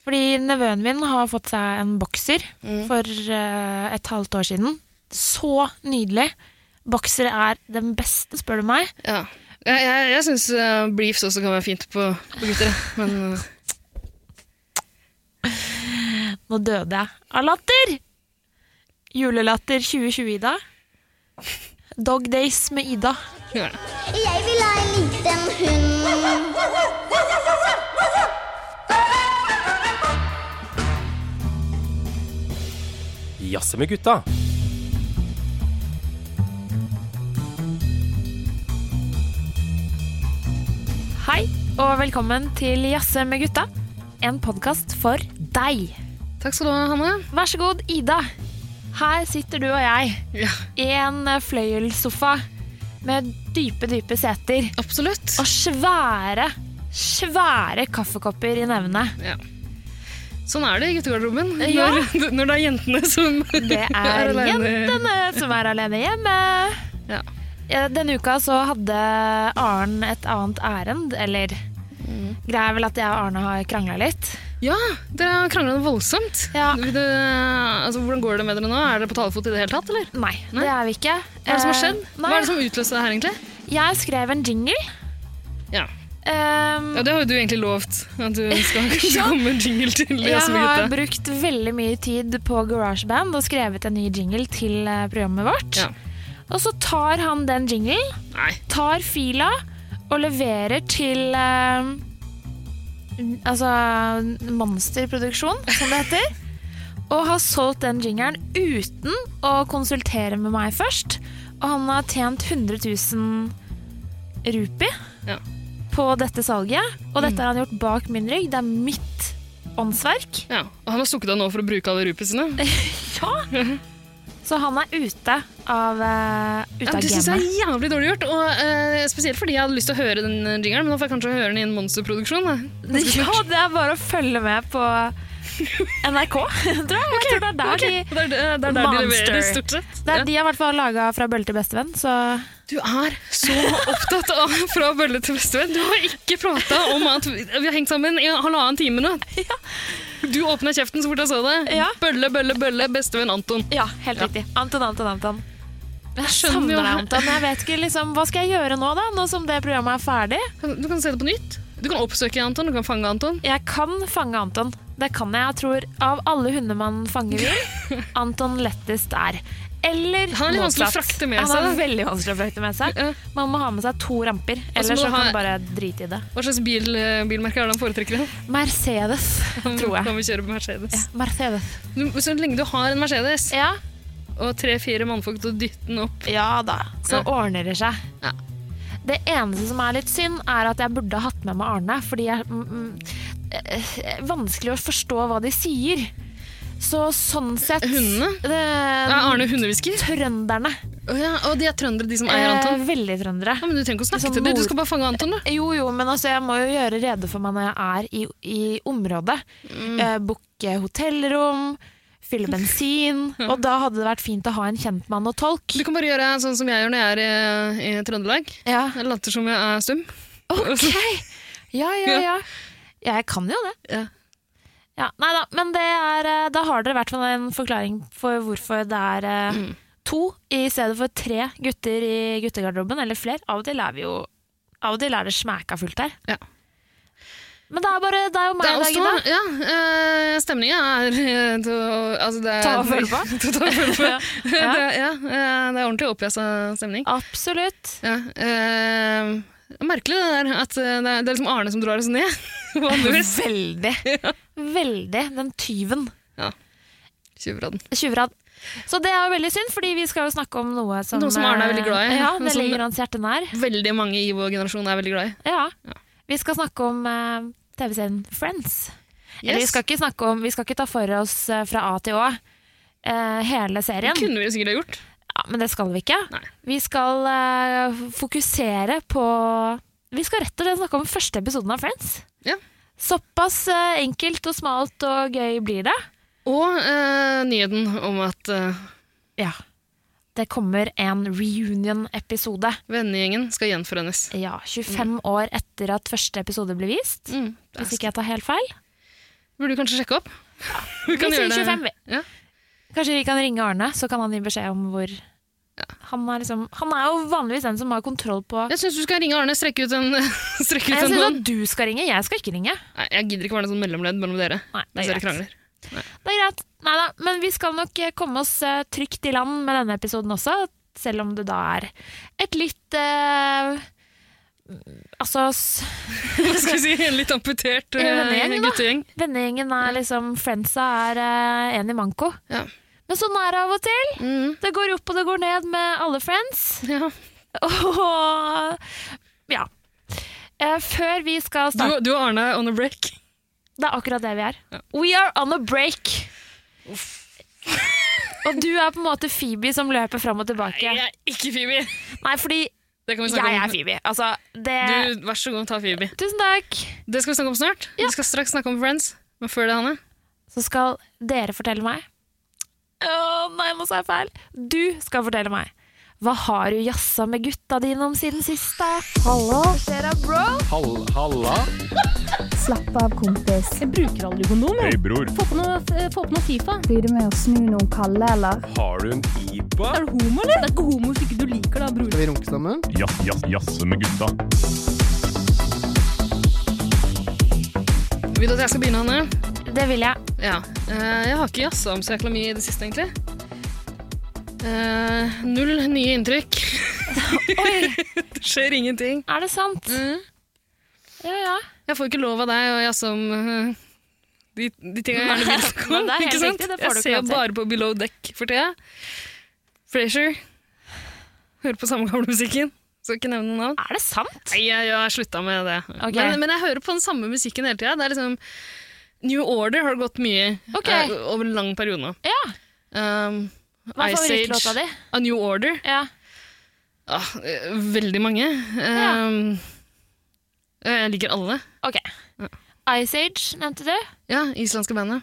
Fordi nevøen min har fått seg en bokser for eh, et halvt år siden. Så nydelig. Bokser er den beste, spør du meg. Ja. Jeg, jeg, jeg syns briefs også kan være fint på, på gutter. jeg. Men eh, Nå døde jeg av latter! Julelatter 2020, Ida. Dog Days med Ida. ja. Jeg vil ha en liten hund. Jazze med gutta. Hei, og velkommen til Jazze med gutta. En podkast for deg. Takk skal du ha, Hanne. Vær så god, Ida. Her sitter du og jeg Ja, i en eh, fløyelssofa med dype, dype seter. absolutt. Og svære, svære kaffekopper i nevene. Sånn er det i guttegarderoben. Eh, Ja. Når, når det er jentene som Det er er alene. jentene som er alene hjemme. Ja. Ja, Denne uka så hadde Arne et annet ærend, eller Greia er vel at jeg og Arne har krangla litt. Ja, dere har krangla voldsomt. Ja. Vil du, altså, hvordan går det med dere nå? Er dere på talefot i det hele tatt, eller? Nei, Nei? det er vi ikke. Hva er det som har Eh, skjedd? Nei, Hva er det som utløste det her, egentlig? Jeg skrev en jingle. Ja. Um, ja, Det har jo du egentlig lovt. At du skal Ja. komme en jingle til. Jeg Jazze med har gutta. brukt veldig mye tid på GarageBand og skrevet en ny jingle til eh, programmet vårt. Ja. Og så tar han den jinglen, Nei. tar fila og leverer til eh, Altså Monsterproduksjon, som det heter. og har solgt den jingelen uten å konsultere med meg først. Og han har tjent 100 000 rupi Ja. Mm. på dette salget. Og dette har han gjort bak min rygg. Det er mitt åndsverk. Ja. Og han har stukket av nå for å bruke alle rupisene. Ja! Så han er ute av, eh, Ja, ute av det syns gamet. jeg er jævlig dårlig gjort. Og eh, Spesielt fordi jeg hadde lyst til å høre den jingeren, men nå får jeg kanskje høre den i en monsterproduksjon. da. Ganske Ja, snart. det er bare å følge med på NRK, tror jeg. jeg tror det er der Ok, de og Det er det er der de Monster. leverer, stort sett. det er de jeg i hvert fall har laga fra bølle til bestevenn, så Du er så opptatt av Fra bølle til bestevenn. Du har ikke prata om at vi vi har hengt sammen i halvannen time nå. Du åpna kjeften så fort jeg så det. Ja. Bølle, bølle, bølle, bestevenn Anton. Ja, helt riktig. Anton, Anton, Anton. Jeg skjønner savner jo- deg, Anton. Jeg vet ikke, liksom, Hva skal jeg gjøre nå, da? Nå som det programmet er ferdig? Kan- Du kan se det på nytt. Du kan oppsøke Anton, du kan fange Anton. Jeg kan fange Anton. Det kan jeg. Jeg tror av alle hunder man fanger vil, Anton lettest er. Eller Han er litt vanskelig å motsatt. frakte med Han seg, er da. veldig vanskelig å frakte med seg. Ja. Man må ha med seg to ramper, må ellers så kan du ha- du bare drite i det. Hva slags bil, eh, bilmerke er det han foretrekker? Mercedes, tror jeg. Kan vi kjøre på Mercedes? Mercedes. Du, så lenge du har en Mercedes Ja, og tre-fire mannfolk til å dytte den opp ja da. Så Ja. ordner det seg. Ja. Det eneste som er litt synd, er at jeg burde ha hatt med meg Arne. Fordi jeg mm, mm, eh, eh, Vanskelig å forstå hva de sier. Så sånn sett Hundene? Det, Er Arne hundehvisker? Trønderne. Å ja, og de er trøndere, de som eier Eh, Anton. veldig trøndere. Ja, men Du trenger ikke å snakke liksom til dem, du nord- skal bare fange Anton. du. Jo, jo, men altså, jeg må jo gjøre rede for meg når jeg er i, i området. Mm. Eh, Booke hotellrom, fylle bensin. Og da hadde det vært fint å ha en kjentmann og tolk. Du kan bare gjøre sånn som jeg gjør når jeg er i, i Trøndelag. Ja, Jeg later som jeg er stum. ok! Ja, ja, ja. Ja, jeg kan jo det. Ja. Ja, nei da, men det er, eh, da har dere i hvert fall en forklaring for hvorfor det er eh, Mm. to i stedet for tre gutter i guttegarderoben, eller flere. Av og til er vi jo Av og til er det smæka fullt her. Ja. Men det er bare deg og Det meg er i oss dag, to. Ida. Ja, eh, stemningen er eh, til å- altså det er, Ta og føle på. Ta- ta og føle på. Ja. Det, er- ja, eh, det er ordentlig opphjassa stemning. Absolutt. Ja, eh, det er merkelig det der at eh, det er, det er liksom Arne som drar oss ned. Vanligvis. Veldig. Veldig. Den tyven. Tjuvradden. Tjuvradd. Så det er jo veldig synd, fordi vi skal jo snakke om noe som eh, Noe som Arne er veldig glad i. Ja, Noe det som- ligger hans hjerte nær. Veldig mange i vår generasjon er veldig glad i. Ja. Vi skal snakke om eh, TV-serien Friends. Eller, vi, skal ikke snakke om, vi skal ikke ta for oss eh, fra A til Å eh, hele serien. Kunne vi jo sikkert ha gjort. Ja, men det skal vi ikke. Nei. Vi skal eh, fokusere på Vi skal rett og slett snakke om første episoden av Friends. Ja. Såpass eh, enkelt og smalt og gøy blir det. Og eh, nyheten om at eh, Ja. Det kommer en reunion-episode. vennegjengen skal gjenforenes. Ja, 25 år etter at første episode ble vist. Mm, det Hvis ikke jeg tar helt feil. burde du kanskje sjekke opp. Vi Vi sier 25, vi. Ja. Kanskje vi kan ringe Arne, så kan han gi beskjed om hvor han, er liksom, han er jo vanligvis den som har kontroll på Jeg syns du skal ringe Arne. Strekke ut en strekke Jeg ut en syns hånd. at du skal ringe, jeg skal ikke ringe. Nei, jeg gidder ikke være noe sånn mellomledd mellom dere. Nei, det Mens er dere greit. krangler. Det er greit. Neida, men vi skal nok eh, komme oss eh, trygt i land med denne episoden også, selv om det da er et litt eh, Altså, s- Hva skal vi si? En litt amputert eh, Vennegjeng, da. guttegjeng. vennegjengen er liksom Friendsa er eh, en i manko. Ja. Men sånn er det av og til. Mm, Det går opp og det går ned med alle friends. ja. Og ja. Eh, Før vi skal du, starte du og Arne er on a break. Det er akkurat det vi er. We are on a break. og du er på en måte Phoebe som løper fram og tilbake. Jeg er ikke Phoebe. Nei, fordi Det kan vi snakke jeg er om. Phoebe. Altså, det Du, vær så god, ta Phoebe. Tusen takk. Det skal vi snakke om snart. Vi skal straks snakke om Friends. Men før det, Hanne Så skal dere fortelle meg Å nei, nå sa jeg feil. Du skal fortelle meg. Hva har du jazza med gutta dine om siden sist, da? Hallo? Hva skjer da, bro? Hall, halla. Slapp av, kompis. Jeg bruker aldri kondom. jeg. Hei, bror. Få på noe, eh, få på noe Fifa. Blir det med å snu noen kalde, eller? Har du en IBA? Er du homo, eller? Det er ikke homo hvis ikke du liker det, da, bror. Skal vi runke sammen? Jazz, jazz, jazze med gutta. Vil du at jeg skal begynne, Hanne? Det vil jeg. Ja. Eh, jeg har ikke jazza om så jækla mye i det siste, egentlig. Eh, null nye inntrykk. Oi, Mm. Det skjer ingenting. er det sant? Mm. Ja, ja. Jeg får ikke lov av deg å jazze om eh, de, de tingene jeg gjerne vil snakke om. Nei, det er helt ikke sant? riktig, det får du jeg ikke ser lov til. bare på Below Deck for tida. Frasier. Hører på samme gamle musikken. Skal ikke nevne noe navn. Er det sant? Nei, jeg, jeg har slutta med det. Ok. Men, men jeg hører på den samme musikken hele tida. Liksom, New Order har gått mye Ok. eh, over en lang periode nå. Ja. Um, Hva er Ice Age, favorittlåta di? A New Order. Ja. Ah, eh, veldig mange. Um, eh, Jeg liker alle. Ok. Mm. Ice Age nevnte du. Ja, Islandske bandet.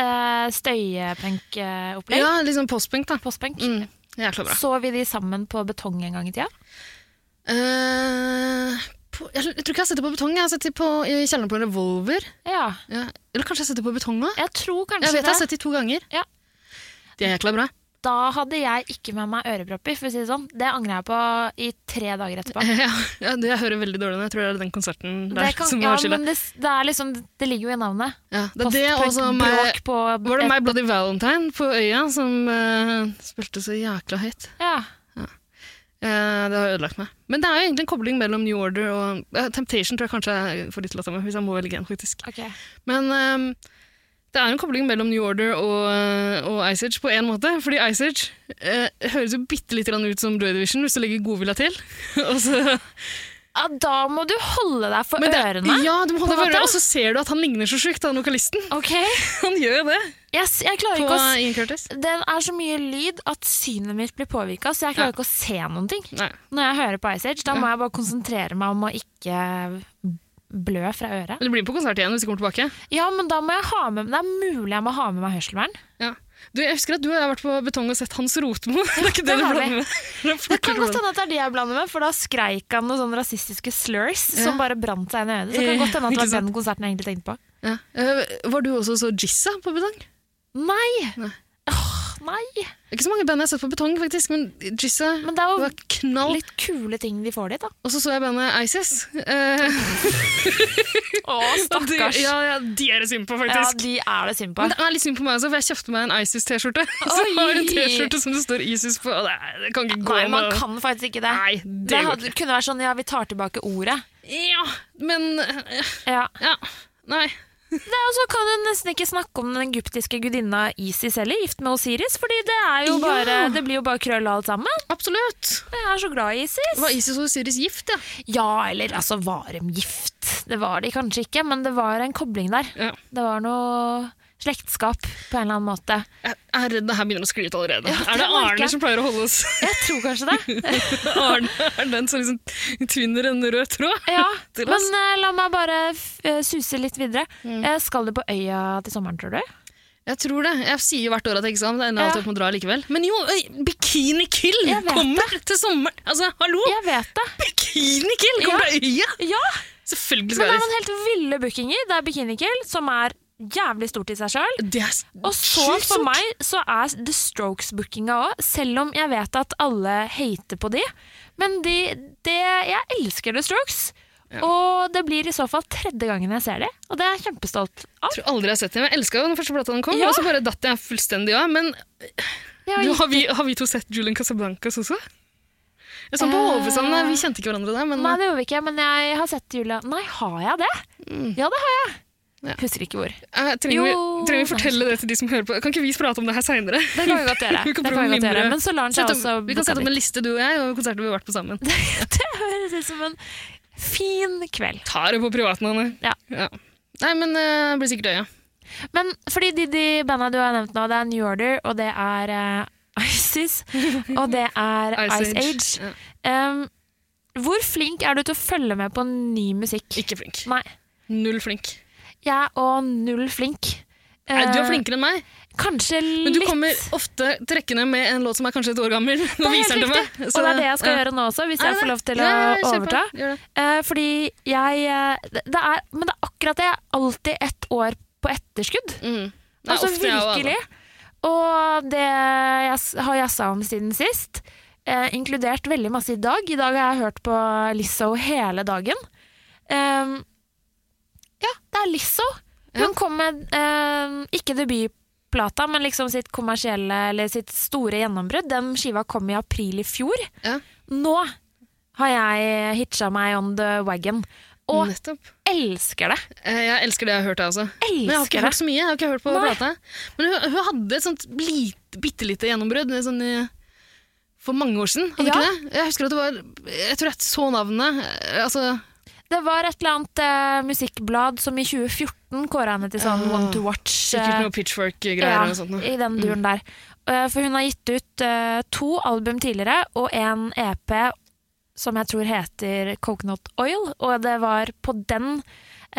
Eh, Støyepunk-opplegg. Ja, liksom postpunk, da. Postpunk. Mm, jækla bra. Så vi de sammen på betong en gang i tida? Eh, på, jeg, jeg tror ikke jeg setter på betong. Jeg setter på i kjelleren på en revolver. Ja. Ja. Eller kanskje jeg setter på betong òg. Jeg tror kanskje Jeg vet jeg har det. sett de to ganger. Ja. De er jækla bra. Da hadde jeg ikke med meg ørepropper, for å si det sånn. Det angrer jeg på i tre dager etterpå. Ja, ja, det jeg hører veldig dårlig nå. Jeg tror det er den konserten der Det, kan, som ja, var skylda. men det, det, er liksom, det ligger jo i navnet. Ja, det er det og også Postpunk, meg, bråk på Var det et- My Bloody Valentine på Øya som eh, spilte så jækla høyt? Ja. Eh, det har ødelagt meg. Men det er jo egentlig en kobling mellom New Order og eh, Temptation tror jeg kanskje jeg får litt låt av meg, hvis jeg må velge en, faktisk. ok. Men eh, det er jo en kobling mellom New Order og, eh, og Ice Age på én måte. Fordi Ice Age eh, høres jo bitte lite grann ut som Joy Division hvis du legger godvilja til. og så Ja, da må du holde deg for Men det- ørene. Ja, du må på holde en for måte. ørene, og så ser du at han ligner så sjukt, han vokalisten. Ok. Han gjør jo det. Yes, jeg klarer På ikke å s- Ian Curtis. Den er så mye lyd at synet mitt blir påvirka, så jeg klarer ikke å se noen ting. Nei. Når jeg hører på Ice Age, da må jeg bare konsentrere meg om å ikke blø fra øret. Du blir på konsert igjen hvis du kommer tilbake. Ja, men da må jeg ha med Det er mulig jeg må ha med meg hørselvern. Ja. Du, jeg husker at du og jeg har vært på Betong og sett Hans Rotmo. Det er ikke det, det du har vi. blander med. Det, Det kan godt hende at det er det jeg blander med, for da skreik han noen sånne rasistiske slurs som bare brant seg inn i øynene. Så det kan Eh, godt hende at det ikke var sant? den konserten jeg egentlig tenkte på. Ja. Eh, var du også så Jizza på Betong? Nei! Nei. Åh, nei! Det er Ikke så mange band jeg har sett på Betong, faktisk, men Jizza Men det er var knall. jo litt kule ting de får dit, da. Og så så jeg bandet ISIS. Eh, Å, og de- stakkars. ja, ja, de er det synd på, Ja, faktisk. de er det synd på. Men det er litt synd på meg også, for jeg kjøpte meg en ISIS-T-skjorte. Så Oi! jeg har en T-skjorte som det står ISIS på. Og det, er- det kan ikke gå Nei, man med- kan faktisk ikke det. Nei, det det går hadde, kunne vært sånn ja, vi tar tilbake ordet. Ja, men eh, Ja. Ja. Nei. Det er jo så kan du nesten ikke snakke om den egyptiske gudinna Isis heller, gift med Osiris, fordi det, er jo Ja. bare, det blir jo bare krøll alt sammen. Absolutt. Jeg er så glad i Isis. Var Isis og Osiris gift, ja? Ja, eller altså, var de gift? Det var det kanskje ikke, men det var en kobling der. Ja. Det var noe slektskap på en eller annen måte. Jeg er redd det her begynner å skli ut allerede. Ja, det er det merker Arne jeg. som pleier å holde oss? Jeg tror kanskje det. Arne er den som liksom tvinner en rød tråd? Ja, Til men oss. Mm. eh, la meg bare f- eh, suse litt videre. Eh, skal du på øya til sommeren, tror du? Jeg tror det. Jeg sier jo hvert år at jeg ikke skal, men det ender Ja. alltid opp med å dra likevel. Men jo, øy, Bikini Kill Jeg vet kommer til sommeren! Altså, hallo! Jeg vet det. Bikini Kill kommer til øya! Ja, Selvfølgelig Men skal det er jeg dit. noen helt ville bookinger. Det er Bikinikill, som er jævlig stort i seg sjøl. Det er s- Og så sjukt for stort. meg så er The Strokes-bookinga òg, selv om jeg vet at alle hater på de. Men de, det, jeg elsker The Strokes. Og det blir i så fall tredje gangen jeg ser de, og det er jeg kjempestolt av. Jeg tror aldri jeg har sett den. Jeg elska jo den første plata den kom, Ja. og så bare datt jeg fullstendig av. Men Jeg du, har har, vi, har vi to sett Julian Casablancas også? Jeg så på Eh. HV sammen, nei, vi kjente ikke hverandre der, men Nei, det gjorde vi ikke, men jeg har sett Julia Nei, har jeg det? Ja, det har jeg. Mm. Ja. Husker ikke hvor. eh, trenger, Jo, vi, trenger vi fortelle det til de som hører på? Kan ikke vi prate om det her seinere? Det kan vi godt gjøre. Vi kan det kan prøve å vi godt gjøre. mimre. Men Solange Sett er opp- også Vi kan sette opp booka en dit. liste, du og jeg, og konserter vi har vært på sammen. Det høres ut som en fin kveld. Tar det på privaten, Anne. Ja. Nei, men eh, det blir sikkert øya. Men fordi de, de banda du har nevnt nå, det er New Order, og det er eh, ISIS, og det er Ice, Age. Ja. Um, hvor flink er du til å følge med på ny musikk? Ikke flink. Nei, Null flink. jeg er og null flink. Nei, du er Eh, flinkere enn meg, Kanskje litt. men du kommer ofte trekkende med en låt som er kanskje et år gammel. Det Og er viser helt den til meg. riktig, Så- og det er det jeg skal ja. gjøre nå også, hvis Er jeg det får det? lov til Ja, ja, å ja, kjør på. overta. Gjør det. Eh, fordi jeg eh, det det er, Men det er akkurat det. Jeg er alltid ett år på etterskudd. Mm. Det er Altså ofte jeg og Anne. virkelig. Og det jeg s- har jazza om siden sist, eh, inkludert veldig masse i dag. I dag har jeg hørt på Lizzo hele dagen. Ehm, ja, det er Lizzo. Hun kom med ehm, ikke debutplata, men liksom sitt kommersielle eller sitt store gjennombrudd. Den skiva kom i april i fjor. Ja. Nå har jeg hitcha meg on the wagon. Og Nettopp. elsker det! Eh, Jeg elsker det jeg har hørt, jeg altså. også. Men jeg har ikke Elsker det! hørt så mye. Jeg har ikke hørt på Nei. plata. Men hun, hun hadde et sånt lite, bitte lite gjennombrudd det er sånn, eh, for mange år siden. Hadde Ja. ikke det? Jeg husker at det var Jeg tror jeg så navnet. eh, Altså, Det var et eller annet eh, musikkblad som i 2014 kåra henne til sånn Ah, One to Watch. eh, sikkert noe pitchfork-greier ja, eller noe sånt. noe. Mm. I den duren der. Eh, for hun har gitt ut eh, to album tidligere og en EP som jeg tror heter Coconut Oil, og det var på den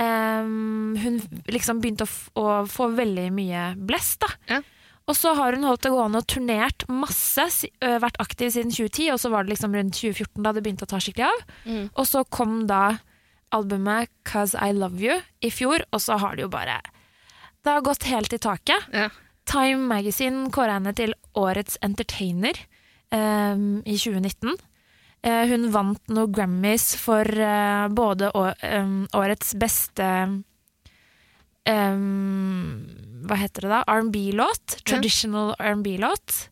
eh, hun liksom begynte å, f å få veldig mye blest, da. Ja. Og så har hun holdt det gående og turnert masse, si- ø, vært aktiv siden 2010, og så var det liksom rundt 2014 da det begynte å ta skikkelig av. Mm. Og så kom da albumet 'Cause I Love You' i fjor, og så har det jo bare Det har gått helt i taket. Ja. Time Magazine kåra henne til årets entertainer ehm, i 2019. Eh, hun vant noen Grammys for eh, både å, ehm, årets beste ehm, Hva heter det da? R&B-låt. Traditional R&B-låt.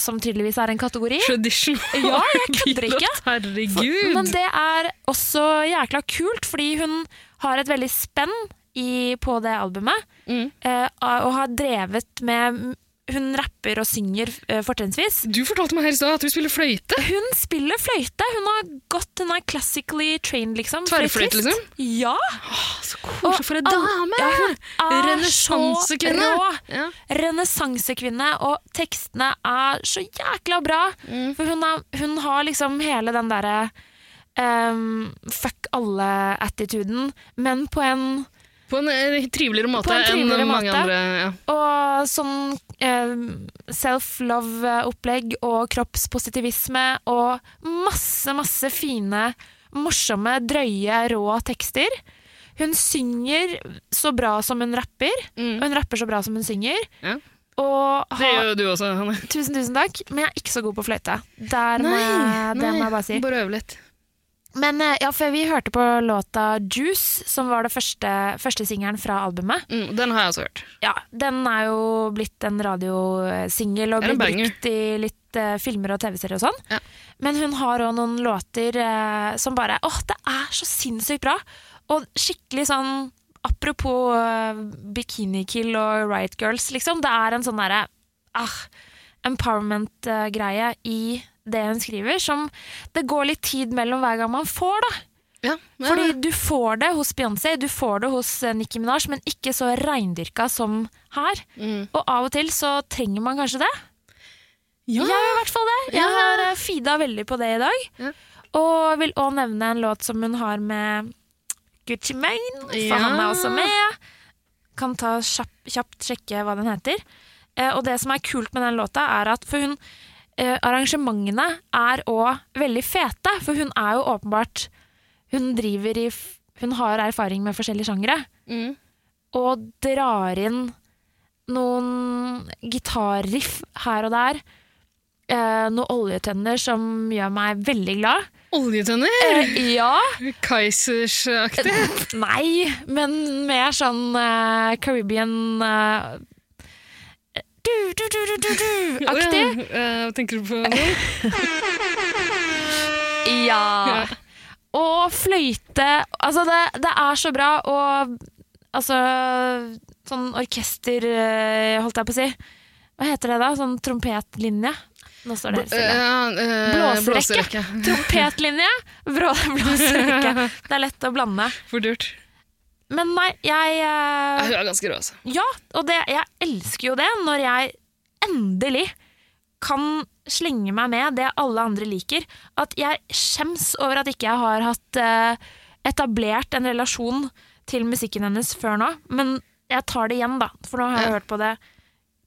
Som tydeligvis er en kategori. Tradition. Ja, jeg kødder ikke! Herregud! Men det er også jækla kult, fordi hun har et veldig spenn i, på det albumet. Mm. eh, og har drevet med Hun rapper og synger eh, fortrinnsvis. Du fortalte meg her i stad at du spiller fløyte. Hun spiller fløyte! Hun har gått, hun er classically trained, liksom. Tverrfløyte, fløytist. liksom? Ja! Så koselig for en all- dame! ja, hun er Renessansekvinne. så rå. Ja. renessansekvinne, og tekstene er så jækla bra. Mm. For hun, er, hun har liksom hele den derre ehm, fuck alle-attituden, men på en På en eh, triveligere måte På en triveligere enn mange måte. andre. Ja. Og sånn ehm, self-love-opplegg og kroppspositivisme og masse, masse fine, morsomme, drøye, rå tekster. Hun synger så bra som hun rapper, Mm. og hun rapper så bra som hun synger. Ja. Og Det har gjør jo du også, Hanne. Tusen, tusen takk, men jeg er ikke så god på fløyte. Der må jeg, det må jeg bare si. Bare øve litt. Men eh, ja, for vi hørte på låta 'Juice', som var det første, første singelen fra albumet. Mm, den har jeg også hørt. Ja, Den er jo blitt en radiosingel og Det blir er en banger. brukt i litt eh, filmer og TV-serier og sånn. Ja. Men hun har òg noen låter eh, som bare Åh, det er så sinnssykt bra! Og skikkelig sånn Apropos eh, Bikini Kill og Riot Girls, liksom. Det er en sånn derre ah, eh, empowerment-greie i det hun skriver, som det går litt tid mellom hver gang man får, da. Ja, men- Fordi du får det hos Beyoncé, du får det hos eh, Nicki Minaj, men ikke så reindyrka som her. Mm. Og av og til så trenger man kanskje det. ja. Jeg gjør i hvert fall det. Jeg Ja. har eh, fida veldig på det i dag. Ja. Og vil òg nevne en låt som hun har med Gucci Mane, for Ja. han er også med. Kan ta kjapp, kjapt sjekke hva den heter. Eh, og det som er kult med den låta, er at for hun eh, Arrangementene er òg veldig fete, for hun er jo åpenbart Hun driver i f- Hun har erfaring med forskjellige sjangere Mm. og drar inn noen gitarriff her og der. Eh, noen oljetønner som gjør meg veldig glad. Oljetønner? Eh, ja. Kaisers-aktig? Nei, men mer sånn eh, Caribbean eh, du-du-du-du-du-aktig. Åja, eh, tenker du på noe? Ja. Og fløyte. Altså, det, det er så bra, og altså Sånn orkester, eh, holdt jeg på å si. Hva heter det da? Sånn trompetlinje? Nå står det helt stille. Uh, Eh, Blåserekke. Trompetlinje, brå, blåserekke. Det er lett å blande. For dyrt. Men nei, jeg Ja, eh, Hun er ganske rå, altså. Ja, og det, jeg elsker jo det når jeg endelig kan slenge meg med det alle andre liker. At jeg skjems over at ikke jeg har hatt eh, etablert en relasjon til musikken hennes før nå. Men jeg tar det igjen, da, for nå har jeg hørt på det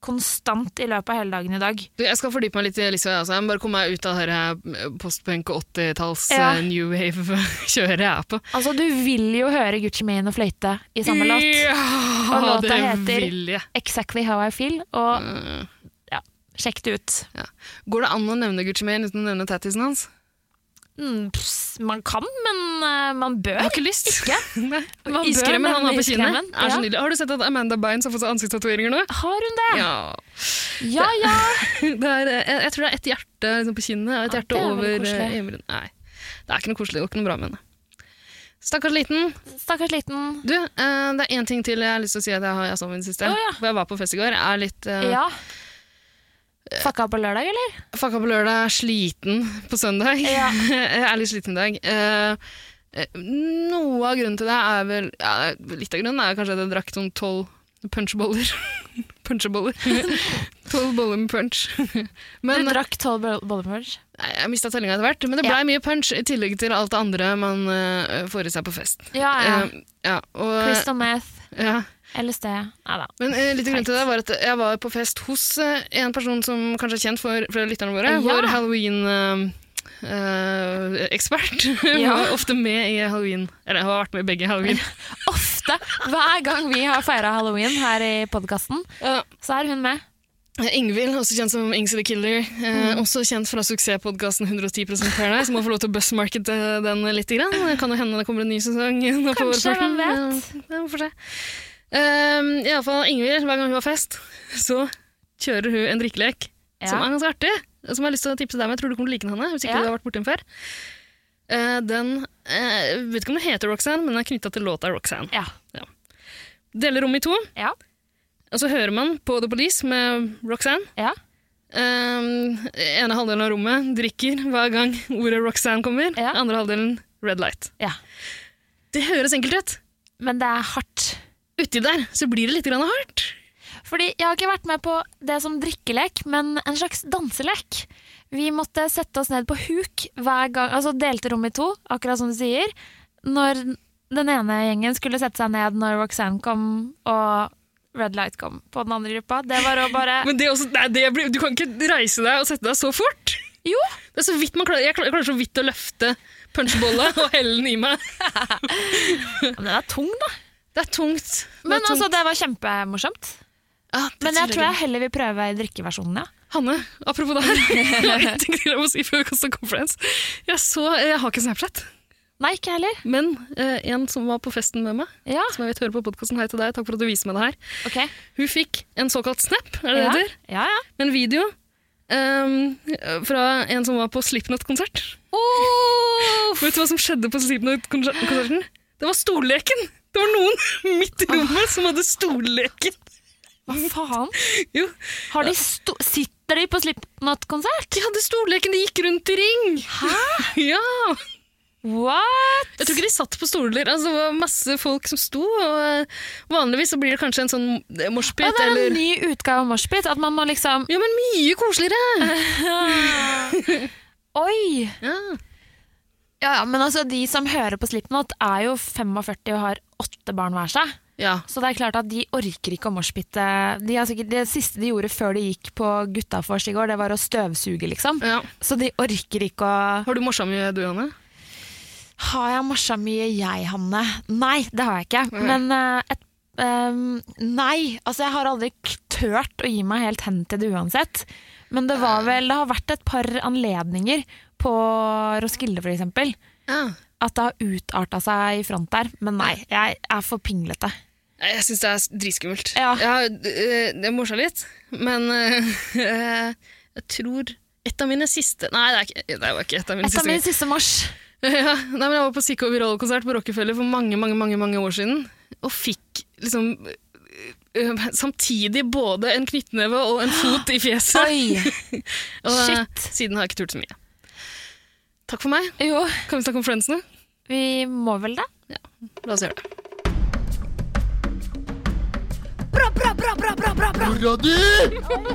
konstant i løpet av hele dagen i dag. Du, jeg skal fordype meg litt i Elisa. Altså. Jeg må bare komme meg ut av det her eh, postpunk og 80-talls Ja. eh, new wave-kjøret jeg er på. Altså, du vil jo høre Gucci Mane og fløyte i samme låt. Og Ja, låta det heter- vil jeg. Exactly how I feel, og Eh, sjekk det ut. Går det an å nevne Gucci Mane uten å nevne tattisen hans? Mm, pss, man kan, men eh, man bør. Jeg har ikke lyst. Ikke? Nei. Man bør Iskremen han har nevne på kinnet. iskremen, Er så ja. nydelig. Har du sett at Amanda Bynes har fått seg ansiktstatueringer nå? Har hun det? Ja. Ja, ja. Det er, eh, jeg, jeg tror det er et hjerte liksom, på kinnet og et Ja, hjerte det er veldig over eh, koselig. øyenbryn. Nei, det er ikke noe koselig. Det går ikke noe bra med henne. Stakkars liten. Stakkars liten. Du, eh, det er én ting til jeg har lyst til å si at jeg har jeg så min siste. Å, ja. For jeg var på fest i går. Jeg er litt eh, Ja. Fucka på lørdag, eller? fucka på lørdag, sliten på søndag. Ja. jeg er litt sliten i dag. Eh, eh, noe av grunnen til det er vel ja, Litt av grunnen er kanskje at jeg drakk sånn tolv punchboller. punchboller. Tolv boller med punch. Men- eh, du drakk tolv bollemerge. Nei, Jeg mista tellinga etter hvert, men det blei mye punch i tillegg til alt det andre man eh, får i seg på fest. Ja, ja. Eh, ja, og, Crystal meth, ja. LSD Nei da. Men eh, litt av grunnen til det var at jeg var på fest hos eh, en person som kanskje er kjent for flere av lytterne våre. Ja. Vår eh, halloween-ekspert. Ja. var ofte med i halloween. Eller har vært med i begge halloween. Ofte, hver gang vi har feira halloween her i podkasten, Ja. så er hun med. Eh, Ingvild, også kjent som Ings the Killer. Mm. Eh, Også kjent fra suksesspodkasten 110 Paradise. Må få lov til å bussmarkete den litt. Grann. Det Kan jo hende det kommer en ny sesong. nå på Kanskje, vårparten. hvem vet? Ja, ja, vi får se. Um, i alle fall, Ingvild, hver gang hun har fest, så kjører hun en drikkelek som Ja. er ganske artig. og Som jeg har lyst til å tipse deg om. Jeg tror du kommer til å like den, Hanne. Hvis ikke Ja. du har vært borti den før. Eh, den eh, vet ikke om den heter Roxanne, men den er knytta til låta Roxanne. Ja. Deler rommet i to, Ja. og så hører man på The Police med Roxanne. ja. Um, ene halvdelen av rommet drikker hver gang ordet Roxanne kommer. Ja. Andre halvdelen Red Light. Ja. Det høres enkelt ut. Men det er hardt. Uti der så blir det litt grann hardt. Fordi jeg har ikke vært med på det som drikkelek, men en slags danselek. Vi måtte sette oss ned på huk hver gang, altså delte rommet i to, akkurat som du sier. Når den ene gjengen skulle sette seg ned når Roxanne kom og Red Light kom på den andre gruppa. Det var å bare Men det er også, nei, det blir, du kan ikke reise deg og sette deg så fort. Jo! Det er så vidt man klarer, jeg klarer, jeg klarer så vidt å løfte punchbolla og helle den i meg. Men den er tung, da. Det er tungt. Det er Men tungt. altså, det var kjempemorsomt. Ja, det Men jeg tillegger- tror jeg heller vil prøve drikkeversjonen, ja. Hanne, apropos det her. Jeg har en ting til jeg må si før vi kaster conference. Jeg, så, eh, jeg har ikke Snapchat, Nei, ikke heller. men eh, en som var på festen med meg, Ja, som jeg vet hører på podkasten, hei til deg, takk for at du viser meg det her. ok. Hun fikk en såkalt snap, er Ja, det det heter? ja. ja. En video ehm, fra en som var på Slipknot-konsert. Vet du hva som skjedde på Slipknot-konserten? Det var stolleken! Det var noen midt i rommet som hadde stolleken. Hva faen? Jo, Har de sto Sitter de på Slipknot-konsert? de hadde stolleken, de gikk rundt i ring! Hæ? Ja! What? Jeg tror ikke de satt på stoler. Altså, det var masse folk som sto. og eh, Vanligvis så blir det kanskje en sånn eh, Ja, moshpit det er en eller ny utgave av moshpit. At man må liksom Ja, men mye koseligere! Oi! Ja. Ja, ja, men altså, de som hører på Slipknot, er jo 45 og har åtte barn hver seg. ja. Så det er klart at de orker ikke å moshpitte. De har sikkert- Det siste de gjorde før de gikk på Gutta vors i går, det var å støvsuge, liksom. ja. Så de orker ikke å Har du morsa mye, du, Anne? Har jeg morsa mye, jeg, Hanne? Nei, det har jeg ikke. Men eh, et, ehm, Nei. Altså, jeg har aldri k- tørt å gi meg helt hen til det uansett. Men det var vel Det har vært et par anledninger på Roskilde, for eksempel. Ja. At det har utarta seg i front der. Men nei, jeg er for pinglete. Nei, Jeg syns det er dritskummelt. Ja. Jeg, har, eh, det morsa litt, men eh, jeg tror et av mine siste Nei, det, er ikke, det var ikke et av mine Et av siste. mine siste mors. Ja, nei, men jeg var på Sikko Viral-konsert på Rockefeller for mange, mange, mange, mange år siden, og fikk liksom øh, øh, samtidig både en knyttneve og en fot i fjeset. Oi! og, øh, shit. Siden har jeg ikke turt så mye. Takk for meg. Jo, Kan vi snakke om Friends nå? vi må vel det? La oss gjøre det.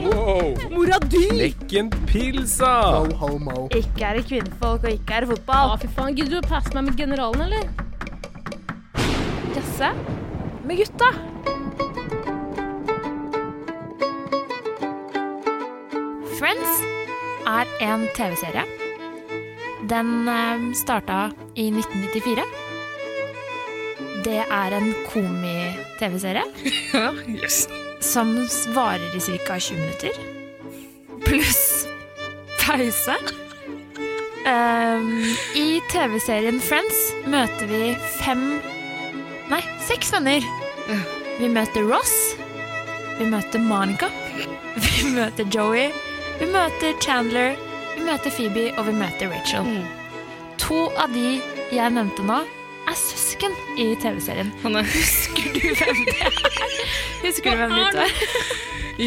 Wow. Mora di! Lekken pilsa! Ikke er det kvinnefolk, og ikke er det Ja, fotball. fy faen. Gidder du å passe meg med generalen, eller? Jazze med gutta. Friends er en TV-serie. Den eh, starta i 1994. Det er en komi-TV-serie Ja, yes. som s- varer i ca. 20 minutter. Pluss pause. Ehm, I TV-serien Friends møter vi fem Nei, seks venner. Vi møter Ross. Vi møter Monica. Vi møter Joey. Vi møter Chandler. Vi møter Phoebe, og vi møter Rachel. Mm. To av de jeg nevnte nå, er søsken i TV-serien. Hanne. Husker du hvem det er? Husker du hvem det er?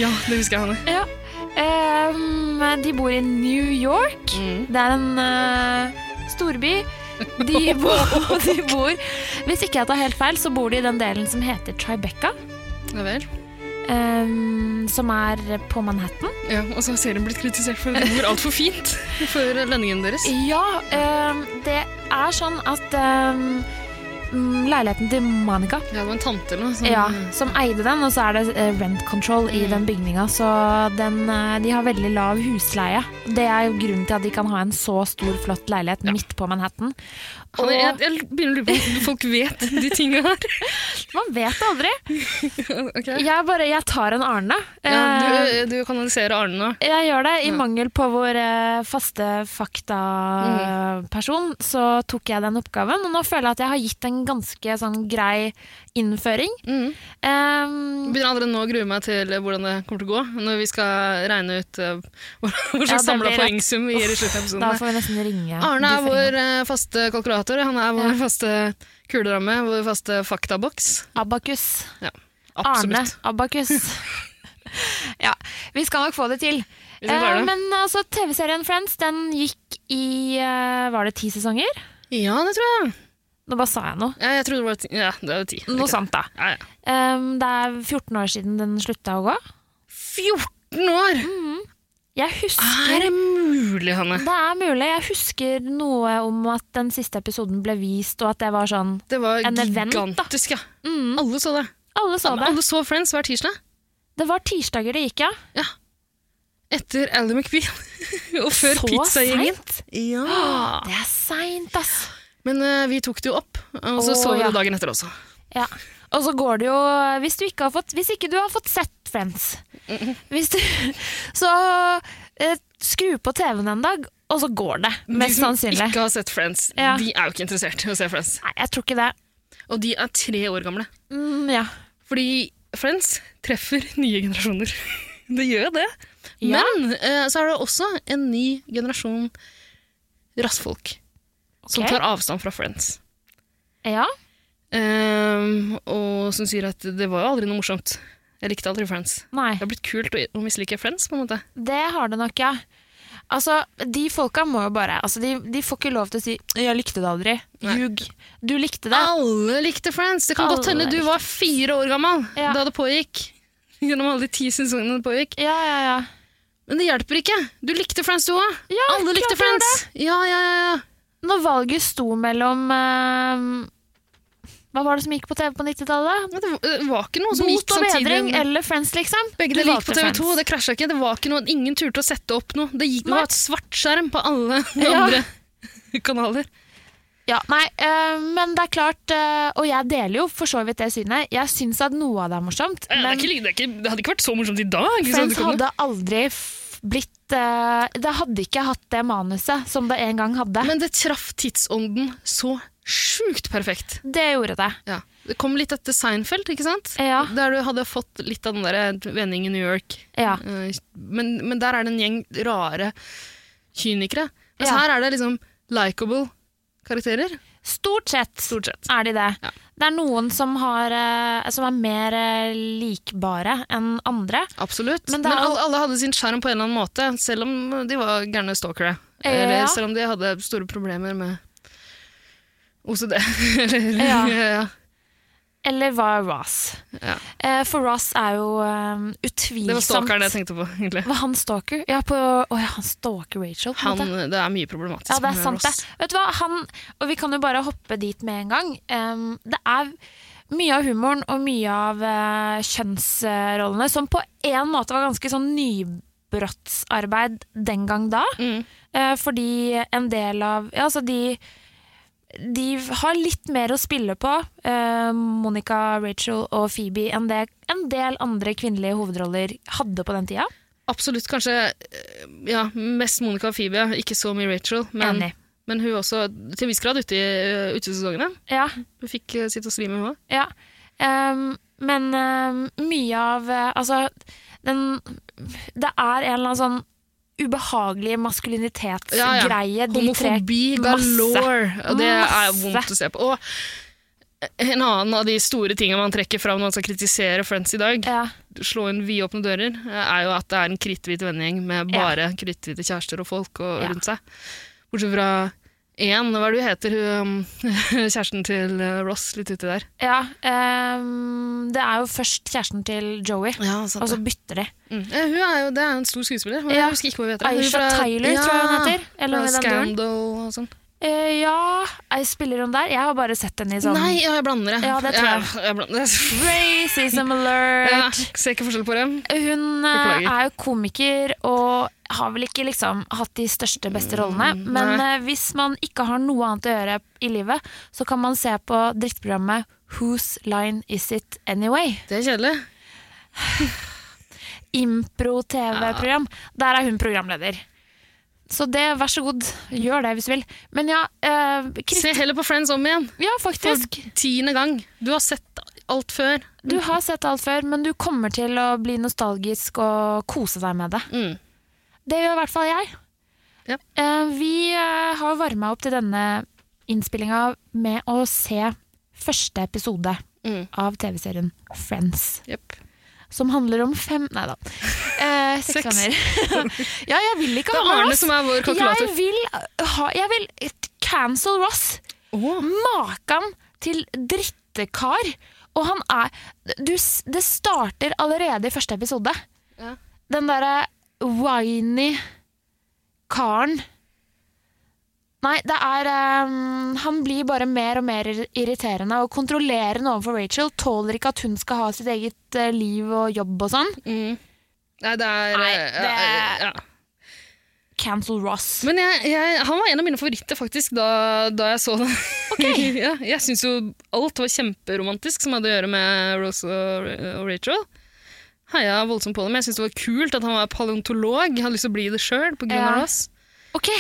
Ja, det husker jeg, Hanne. Ja. Ehm, de bor i New York. Det er en eh, storby. De bor, de bor Hvis ikke jeg tar helt feil, så bor de i den delen som heter Tribeca. Ja vel. ehm, som er på Manhattan. Ja, og så har serien blitt kritisert for at det bor altfor fint for lønningen deres. Ja, ehm, det er sånn at ehm, mm, leiligheten til Monica Ja, det var en tante eller noe. som- Ja, som eide den, og så er det eh, rent control i Mm. den bygninga. Så den, eh, de har veldig lav husleie. Det er jo grunnen til at de kan ha en så stor, flott leilighet midt på Manhattan. Og Hanne, jeg, jeg begynner å lure på om folk vet de tinga her. man vet aldri. Ok. Jeg bare jeg tar en Arne. Ja, Eh, du, du kanaliserer Arne nå. jeg gjør det. I Ja. mangel på vår eh, faste faktaperson, Mm. så tok jeg den oppgaven. Og nå føler jeg at jeg har gitt en ganske sånn grei innføring. Mm. Um, Begynner allerede nå å grue meg til hvordan det kommer til å gå når vi skal regne ut eh, hvor hvor Ja, slags det samla blir rett. poengsum vi gir i slutten da av episoden. får vi nesten ringe. Arne de er får ringe. vår eh, faste kalkulator, han er vår faste kuleramme, vår faste faktaboks. Abakus. Arne Absolutt. Abakus. ja, vi skal nok få det til. Vi skal klare Eh, det. men altså, TV-serien Friends den gikk i eh, Var det ti sesonger? Ja, det tror jeg. Nå bare sa jeg noe. Ja, jeg tror det var ti. Ja, det er jo ti. er det Noe ikke? sånt, da. Ja, ja. Ehm, det er 14 år siden den slutta å gå. 14 år! Mm, Jeg husker Er det mulig, Hanne? Det er mulig. Jeg husker noe om at den siste episoden ble vist, og at det var sånn Det var En event, da. gigantisk, ja. mm, Alle så det. Alle så det. Alle så Friends hver tirsdag. Det var tirsdager det gikk, ja. Etter Ally McBeal og før Så pizzagjengen. seint? Ja. Det er seint, ass. Men eh, vi tok det jo opp, og Å, så så vi ja. det dagen etter også. Ja. Og så går det jo Hvis, du ikke, har fått, hvis ikke du har fått sett Friends, hvis du, så eh, skru på TV-en en dag, og så går det. Mest De som sannsynlig. ikke har sett Friends, Ja. de er jo ikke interessert i å se Friends. Nei, jeg tror ikke det. Og de er tre år gamle. Mm, ja. Fordi Friends treffer nye generasjoner. Det gjør jo det. Ja. Men eh, så er det også en ny generasjon rassfolk som Ok. tar avstand fra Friends. ja. Ehm, og som sier at det var jo aldri noe morsomt. Jeg likte aldri Friends. Nei. Det har blitt kult å, å mislike Friends, på en måte. Det har det nok, ja. Altså, de folka må jo bare altså, de, de får ikke lov til å si 'jeg likte det aldri'. Ljug. Du likte det. Alle likte Friends. Det kan godt Alle hende du var fire år gammel Ja. da det pågikk. Gjennom alle de ti sesongene det pågikk. Ja, ja, ja. Men det hjelper ikke. Du likte Friends, du òg. Ja, Alle klart jeg likte gjorde Friends. Ja, ja, ja, ja. Når valget sto mellom eh, Hva var det som gikk på TV på 90-tallet? Men Det var- det var ikke noe som gikk Bot og samtidig. bedring eller Friends, liksom? Begge Du deler gikk valgte på TV 2, Friends. det krasja ikke. Det var ikke noe, Ingen turte å sette opp noe. Det, gikk, det Nei. var et svartskjerm på alle de Ja. andre kanaler. Ja, nei, eh, men det er klart eh, Og jeg deler jo for så vidt det synet. Jeg syns at noe av det er morsomt, det, men hadde ikke vært så morsomt i dag. liksom. Friends hadde aldri f- blitt eh, Det hadde ikke hatt det manuset som det en gang hadde. Men det traff tidsånden så sjukt perfekt. det gjorde det. Ja. Det kom litt etter Seinfeld, ikke sant? Ja. Der du hadde fått litt av den der vendingen i New York. ja. Eh, Men, men der er det en gjeng rare kynikere. Mens Ja. her er det liksom likeable karakterer. Stort sett, Stort sett. er de det. Ja. Det er noen som, har, eh, som er mer eh, likbare enn andre. Absolutt. Men Men, det er alle, alle hadde sin sjarm på en eller annen måte, selv om de var gærne stalkere. Ja. Eller selv om de hadde store problemer med OCD. eller, ja. Ja. Ja, Eller var Ross. Ja. Eh, for Ross er jo eh, utvilsomt Det var stalkeren jeg tenkte på, egentlig. Var han stalker? Ja, på, å ja, han stalker Rachel. På en Han, måte. det er mye problematisk Ja, det er med sant, Ross. det. Vet du hva, han Og vi kan jo bare hoppe dit med en gang. Em, det er mye av humoren og mye av eh, kjønnsrollene som på en måte var ganske sånn nybrottsarbeid den gang da. Mm. Eh, fordi en del av Ja, altså de de har litt mer å spille på, eh, Monica, Rachel og Phoebe, enn det en del andre kvinnelige hovedroller hadde på den tida. Absolutt kanskje eh, ja, mest Monica og Phoebe, ikke så mye Rachel. Men, Enig. men hun også til en viss grad ute i eh, utesesongene. Ja. Hun fikk eh, sitt og svi med, hun òg. Ja. Ehm, men ehm, mye av eh, Altså, den Det er en eller annen sånn ubehagelig Ja, ja. maskulinitetsgreie de tre Homofobi Masse. galore. Og det er Masse. vondt å se på. Og eh, en annen av de store tingene man trekker fram når man skal kritisere Friends i dag, ja, slå inn vidåpne dører, eh, er jo at det er en kritthvit vennegjeng med Ja. bare kritthvite kjærester og folk og, Ja. rundt seg. Bortsett fra én, hva er det hun heter, hun, um, kjæresten til eh, Ross, litt uti der. ja ehm, Det er jo først kjæresten til Joey, og så bytter de. Mm. Eh, Hun er jo, det er jo en stor skuespiller. men Ja. Jeg husker ikke hva hun heter. Hun Aisha fra- Tyler, tror jeg hun heter. Eller noe i fra den duren. Scandal og sånn. Eh, ja, jeg spiller hun der. Jeg har bare sett henne i sånn Nei, ja, jeg blander det. Ja, det tror jeg. Jeg, jeg blander det. Racism alert! Ja, ser ikke forskjell på dem. Hun eh, Beklager. er jo komiker og har vel ikke liksom hatt de største, Mm, beste rollene. Men eh, hvis man ikke har noe annet å gjøre i livet, så kan man se på drittprogrammet Whose Line Is It Anyway? Det er kjedelig. Impro-TV-program. Der er hun programleder. Så det, vær så god, gjør det hvis du vil. Men ja, eh, Krist Se heller på Friends om igjen. ja For faktisk. tiende gang. Du har sett alt før. Du har sett alt før, men du kommer til å bli nostalgisk og kose deg med det. Mm. Det gjør i hvert fall jeg. Ja. Eh, vi eh, har varma opp til denne innspillinga med å se første episode Mm. av TV-serien Friends. Jepp. Som handler om fem Nei da. Eh, seks Seks. venner. ja, jeg vil ikke Det er ha Arne Ross! som er vår Jeg kalkulator. vil, ha, jeg vil cancel Ross! Åh. Makan til drittekar. Og han er du, s- Det starter allerede i første episode. Ja. Den derre whiny karen. Nei, det er ehm, Han blir bare mer og mer ir- irriterende og kontrollerende overfor Rachel. Tåler ikke at hun skal ha sitt eget eh, liv og jobb og sånn. Mm. Nei, det er Nei, eh, det er- ja. Cancel Ross. Men jeg, jeg, han var en av mine favoritter faktisk da, da jeg så det. ja, jeg syns jo alt var kjemperomantisk som hadde å gjøre med Rose og, og Rachel. Heia voldsomt på dem. Jeg syns det var kult at han var paleontolog. Jeg hadde lyst til å bli det sjøl pga. Ja. Ja. Ross. Ok,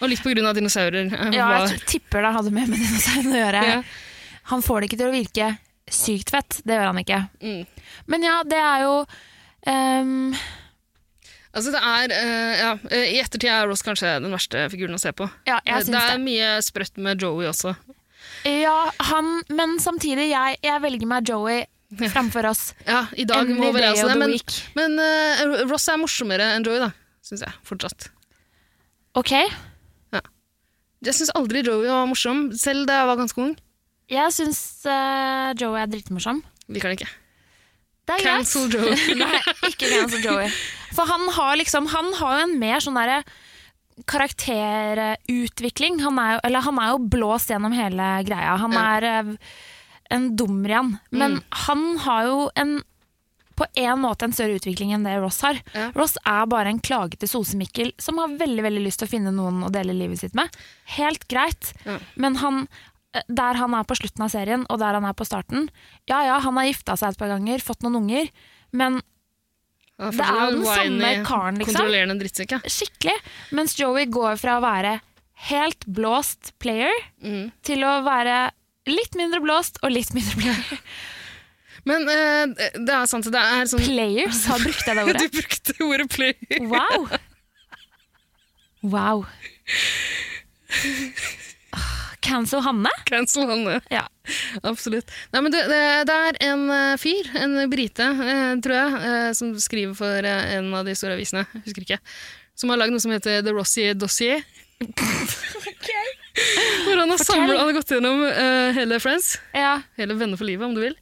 Og litt pga. dinosaurer. eh, ja, var- Jeg tipper det hadde mer med dinosaurene å gjøre. Ja. Han får det ikke til å virke sykt fett. Det gjør han ikke. Mm. Men ja, det er jo ehm, Altså det er, eh, ja, eh, I ettertid er Ross kanskje den verste figuren å se på. Ja, jeg Eh, det syns er det. mye sprøtt med Joey også. Ja, han, men samtidig, jeg, jeg velger meg Joey framfor oss. Ja, i dag Every må vel jeg day også of det, the men, week. men eh, Ross er morsommere enn Joey, da, syns jeg fortsatt. Ok, Jeg syns aldri Joey var morsom, selv da jeg var ganske ung. jeg syns eh, Joey er dritmorsom. Liker han ikke. Det er greit. Cancel Joey. Nei, ikke cancel Joey. For han har liksom Han har jo en mer sånn derre karakterutvikling. Han er jo, eller han er jo blåst gjennom hele greia. Han Ja. Mm. er eh, en dumrian. Men han har jo en på en måte en større utvikling enn det Ross har. Ja. Ross er bare en klagete sosemikkel som har veldig veldig lyst til å finne noen å dele livet sitt med. Helt greit, Ja. men han, eh, der han er på slutten av serien, og der han er på starten Ja ja, han har gifta seg et par ganger, fått noen unger, men Han det er jo den fortsatt en samme whiny, karen, liksom. Kontrollerende drittsekk, ja. skikkelig. Mens Joey går fra å være helt blåst player Mm. til å være litt mindre blåst og litt mindre player. Men eh, det er sant, det er sånn Players, har brukt jeg det Du ordet? brukte ordet play. Wow! Wow. Ah, Cancel Hanne? Cancel han, ja. Ja. Absolutt. Nei, men det, det, det er en eh, fyr, en brite, eh, tror jeg, eh, som skriver for eh, en av de store avisene, jeg husker ikke, som har lagd noe som heter The Rossier Dossier. Hvor han har, samlet, han har gått gjennom eh, hele Friends, ja. hele Venner for livet, om du vil,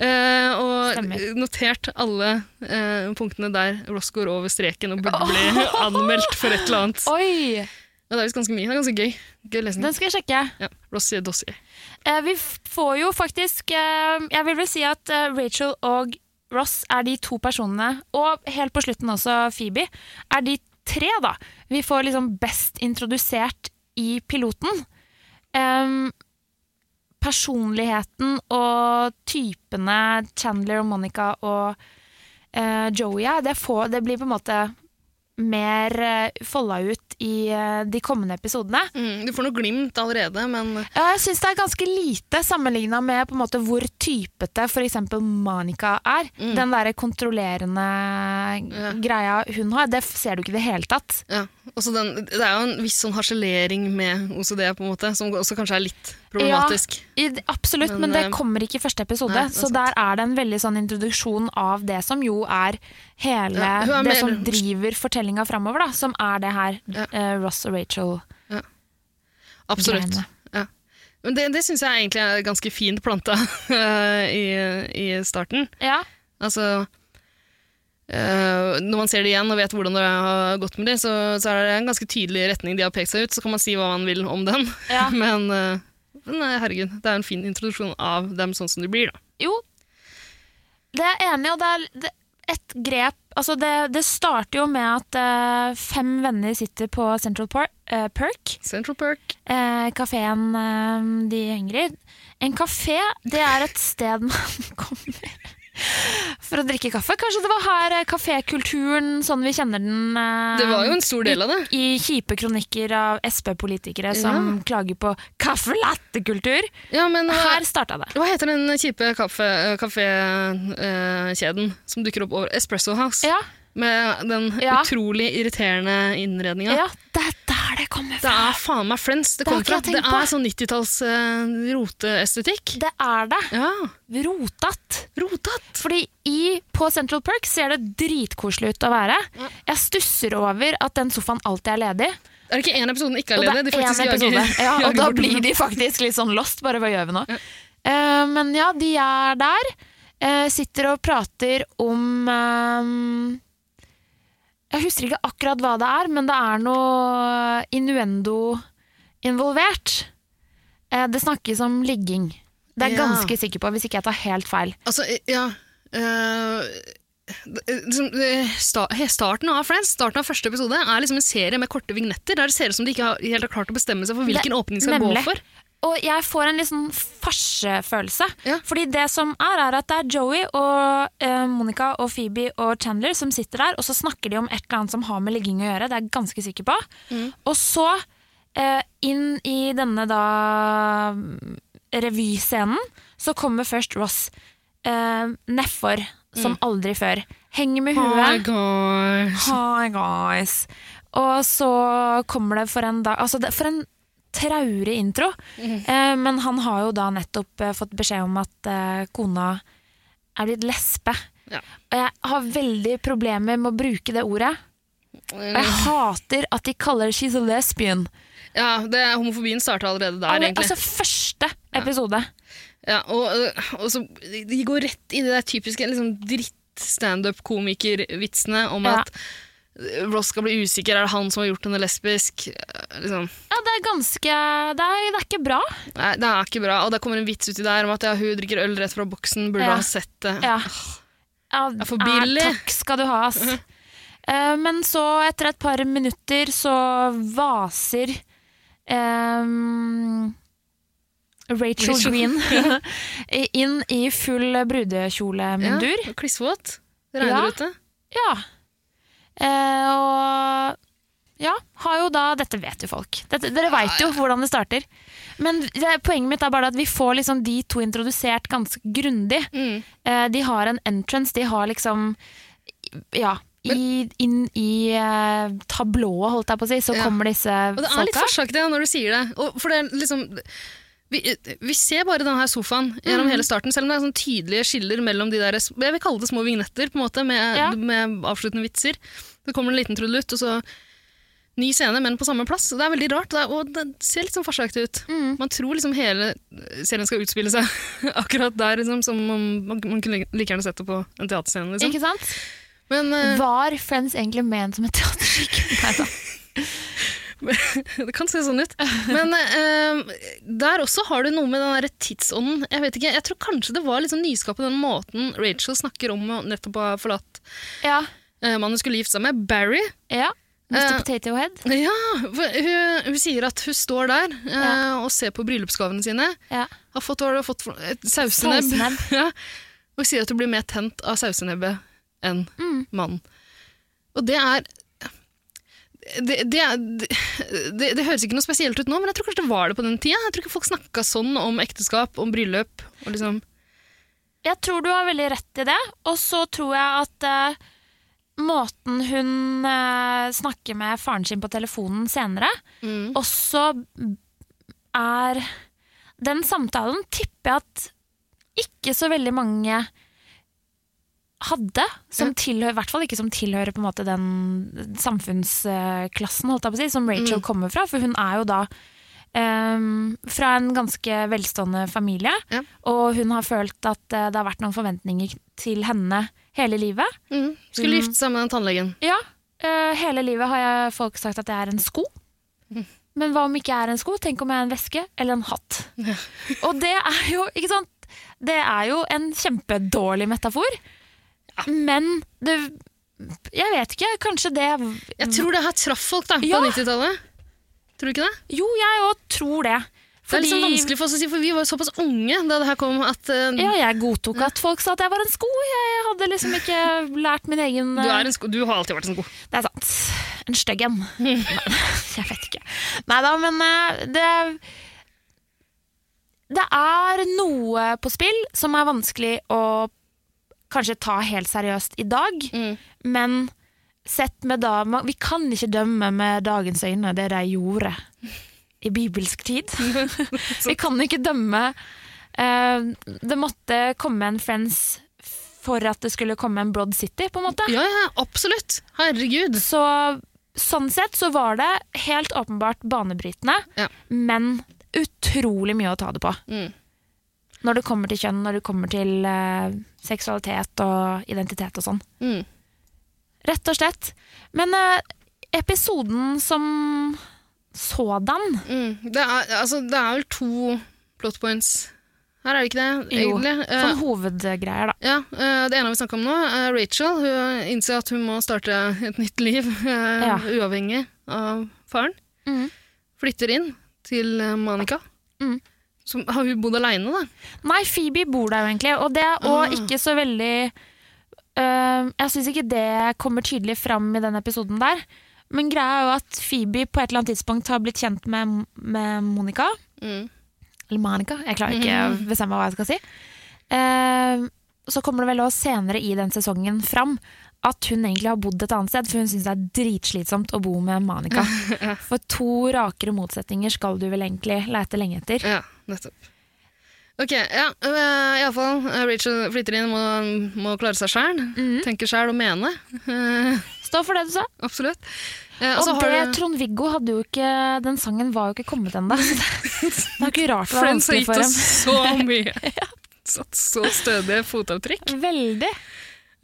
eh, og Stemmer. notert alle eh, punktene der Ross går over streken og burde bli anmeldt for et eller annet. Oi! Ja, det er visst ganske mye. Det er ganske gøy. Gøy lesning. Den skal jeg sjekke. Ja, Rossier Dossier. Eh, vi f- får jo faktisk eh, Jeg vil vel si at eh, Rachel og Ross er de to personene, og helt på slutten også Phoebe, er de tre, da. Vi får liksom best introdusert i piloten. Em, personligheten og typene Chandler og Monica og eh, Joey er, det, får, det blir på en måte mer eh, folda ut i eh, de kommende episodene. Mm, du får noe glimt allerede, men Ja, jeg syns det er ganske lite sammenligna med på en måte hvor typete f.eks. Monica er. Den derre kontrollerende Mm. Ja. greia hun har, det f- ser du ikke i det hele tatt. ja. Også den, det er jo en viss sånn harselering med OCD, på en måte, som også kanskje er litt problematisk. I, absolutt, men, Men, det eh, kommer ikke i første episode. nei, det er så der er det en veldig sånn introduksjon av det som jo er hele Ja, hun er Det mer- som driver fortellinga framover, da. Som er det her Ja. eh, Ross og Rachel-greiene. Absolutt. Ja. Men det, det syns jeg egentlig er ganske fint planta i, i starten. Ja. Altså eh, Når man ser det igjen og vet hvordan det har gått med det, så, så er det en ganske tydelig retning de har pekt seg ut. Så kan man si hva man vil om den, ja. men eh, nei, herregud, det er en fin introduksjon av dem sånn som de blir, da. Jo, det er jeg enig i, og det er det, et grep altså det, det starter jo med at eh, fem venner sitter på Central Park, eh, Perk, Central Perk. uh, kafeen eh, de henger i. En kafé, det er et sted man kommer for å drikke kaffe. Kanskje det var her eh, kafékulturen, sånn vi kjenner den eh, Det var jo en stor del av det. i kjipe kronikker av Sp-politikere som klager på kaffelattekultur. Ja, men eh, Her starta det. Hva heter den kjipe eh, kafékjeden eh, som dukker opp over Espresso House? Ja, Med den Ja. utrolig irriterende innredninga. ja. Det er der det kommer Det fra. er faen meg Friends det Det har kommer fra. ikke jeg Det tenkt er på. sånn 90-talls eh, roteestetikk. Det er det. Ja, Rotatt. rotatt! Fordi i, på Central Perk ser det dritkoselig ut å være. Jeg stusser over at den sofaen alltid er ledig. Er det ikke én episode den ikke er Og det er ledig? De én faktisk jager- episode. Ja, og jager da bort blir den. de faktisk litt sånn lost. Bare hva gjør vi nå? Eh, men ja, de er der. eh, sitter og prater om eh, Jeg husker ikke akkurat hva det er, men det er noe innuendo involvert. Eh, det snakkes om ligging. Det er jeg Ja. ganske sikker på, hvis ikke jeg tar helt feil. Altså, eh, ja eh, det- eh, liksom, eh, sta- he- Starten av Friends, starten av første episode, er liksom en serie med korte vignetter der det ser ut som de ikke har, helt har klart å bestemme seg for hvilken Det- åpning de skal nemlig. gå for. Og jeg får en litt sånn farsefølelse. Ja. Fordi det som er, er at det er Joey og eh, Monica og Phoebe og Chandler som sitter der, og så snakker de om et eller annet som har med ligging å gjøre. Det er jeg ganske sikker på. Mm. Og så eh, inn i denne da mm, revyscenen, så kommer først Ross eh, nedfor som Mm. aldri før. Henger med huet. Oh Hi my god. guys. Og så kommer det for en dag Altså, det, for en traurig intro. Eh, men han har jo da nettopp eh, fått beskjed om at eh, kona er blitt lesbe. Ja. Og jeg har veldig problemer med å bruke det ordet. Og jeg hater at de kaller det 'she's a lesbian'. Ja, det, Homofobien starta allerede der, Alle- egentlig. altså første episode. Ja, og, øh, og så de- De går rett i det der typiske liksom, dritt-standup-komikervitsene om Ja. at øh, Ross skal bli usikker, er det han som har gjort henne lesbisk? Øh, Liksom. Ja, det er ganske Det er, det er ikke bra. Nei, det er ikke bra. Og det kommer en vits uti der om at ja, hun drikker øl rett fra boksen, burde Ja. ha sett det. Ja. Ja, eh, er for billig. Mhm. takk skal du ha, ass. Eh, men så, etter et par minutter, så vaser ehm, Rachel, Rachel. Green inn i full brudekjolemundur. Ja, Klissvåt. Det regner Ja. ute. Ja. Eh, og ja, har jo da Dette vet jo folk. Dette, dere veit jo hvordan det starter. Men det, poenget mitt er bare at vi får liksom de to introdusert ganske grundig. Mm. Eh, de har en entrance, de har liksom Ja. I, inn i eh, tablået, holdt jeg på å si, så Ja. kommer disse Og det folka. er litt forsakt det når du sier det. Og for det er liksom... Vi, vi ser bare denne her sofaen gjennom Mm. hele starten, selv om det er sånn tydelige skiller mellom de der, jeg vil kalle det små vignetter, på en måte, med, Ja. med avsluttende vitser. Så kommer det en liten trudelutt, og så ny scene, men på samme plass. Det er veldig rart, det er, og det ser litt sånn forsaktig ut. Mm. Man tror liksom hele serien skal utspille seg akkurat der, liksom, som om man, man kunne like gjerne sett det på en teaterscene. Liksom. Ikke sant? Men eh, Var Friends egentlig ment som et teaterstykke? Nei da. Det kan se sånn ut. Men eh, der også har du noe med den der tidsånden. Jeg vet ikke, jeg tror kanskje det var litt sånn nyskapende den måten Rachel snakker om å nettopp å ha forlatt Ja. eh, mannen hun skulle gifte seg med, Barry. ja. Mr. Eh, Potato Head. Ja, for hun, hun sier at hun står der eh, Ja. og ser på bryllupsgavene sine. Ja. Har fått, hva har du fått for- et sausenebb. Sausenebb. ja, og sier at hun blir mer tent av sausenebbet enn Mm. mannen. Og det er det, det, er- det, det høres ikke noe spesielt ut nå, men jeg tror kanskje det var det på den tida. Jeg tror ikke folk snakka sånn om ekteskap, om bryllup. Og liksom, Jeg tror du har veldig rett i det, og så tror jeg at eh, måten hun eh, snakker med faren sin på telefonen senere, også er Den samtalen tipper jeg at ikke så veldig mange hadde, som tilhører, i hvert fall ikke som tilhører på en måte den samfunnsklassen holdt jeg på å si, som Rachel kommer fra, for hun er jo da ehm, fra en ganske velstående familie, Ja. og hun har følt at eh, det har vært noen forventninger til henne hele livet. mm, skulle gifte seg med den tannlegen. Ja, eh, hele livet har jeg folk sagt at jeg er en sko. Mm. Men hva om ikke jeg er en sko? Tenk om jeg er en veske eller en hatt. Og det er jo, ikke sant? Det er jo en kjempedårlig metafor. Men det Jeg vet ikke, kanskje det Jeg tror det her traff folk da, på Ja. 90-tallet. Tror du ikke det? Jo, jeg òg tror det. Det er litt sånn vanskelig for oss å si, for vi var jo såpass unge da det her kom. At, eh, ja, jeg godtok at folk sa at jeg var en sko. Jeg hadde liksom ikke lært min egen du, er en sko du har alltid vært en sko. Det er sant. En stygg en. Nei, Jeg vet ikke. Nei da, men eh, det Det er noe på spill som er vanskelig å kanskje ta helt seriøst i dag, Mm. men sett med da Vi kan ikke dømme med dagens øyne det de gjorde i bibelsk tid. Vi kan ikke dømme eh, Det måtte komme en Friends for at det skulle komme en Broad City, på en måte. Ja, ja, absolutt. Herregud. Så sånn sett så var det helt åpenbart banebrytende, Ja. men utrolig mye å ta det på. Mm. Når det kommer til kjønn, når det kommer til eh, seksualitet og identitet og sånn. Mm. Rett og slett. Men eh, episoden som sådan Mm. Det, er, altså, det er vel to plot points her, er det ikke det? Jo, Egentlig? Eh, Sånn hovedgreier, da. ja, eh, det ene har vi snakka om nå, er Rachel. Hun innser at hun må starte et nytt liv, eh, Ja. uavhengig av faren. Mhm. Flytter inn til eh, Monica. Mhm. Som, har hun bodd aleine, da? Nei, Phoebe bor der jo egentlig, og det er Ah. også ikke så veldig øh, Jeg syns ikke det kommer tydelig fram i den episoden der. Men greia er jo at Phoebe på et eller annet tidspunkt har blitt kjent med, med Monica. Mm. Eller Monica, jeg klarer ikke å bestemme hva jeg skal si. Eh, så kommer det vel også senere i den sesongen fram at hun egentlig har bodd et annet sted, for hun syns det er dritslitsomt å bo med Monica. For to rakere motsetninger skal du vel egentlig lete lenge etter. Ja, nettopp. Ok, ja, øh, iallfall. øh, Rachel flytter inn, må, må klare seg sjæl. Mm. Tenke sjæl og mene. Eh, Stå for det du sa. absolutt. Eh, Og så har det du- Trond-Viggo hadde jo ikke Den sangen var jo ikke kommet ennå. så Det det er ikke rart det var Friends har vanskelig gitt for oss dem. så mye. Satt så stødige fotavtrykk Veldig.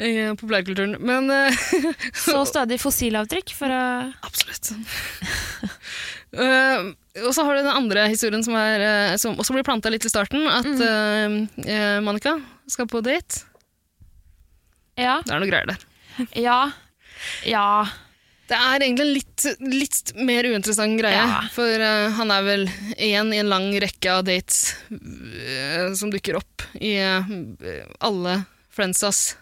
i eh, populærkulturen. Men eh, Så stødig fossilavtrykk for å absolutt. Eh, og så har du den andre historien som, er, eh, som også blir planta litt i starten. At Mm. eh, eh, Monica skal på date. Ja. Det er noe greier der. Ja. Ja. Det er egentlig en litt, litt mer uinteressant greie. Ja. For eh, han er vel én i en lang rekke av dates eh, som dukker opp i eh, alle Friendsas.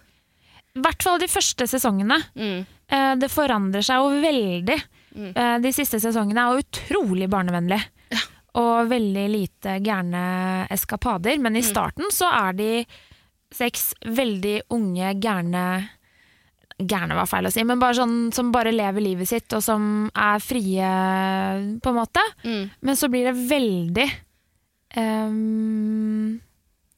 I hvert fall de første sesongene. Mm. Eh, Det forandrer seg jo veldig. Eh, De siste sesongene er jo utrolig barnevennlig. Og veldig lite gærne eskapader. Men i Mm. starten så er de seks veldig unge, gærne Gærne var feil å si, men bare sånn som bare lever livet sitt, og som er frie, på en måte. Mm. Men så blir det veldig um,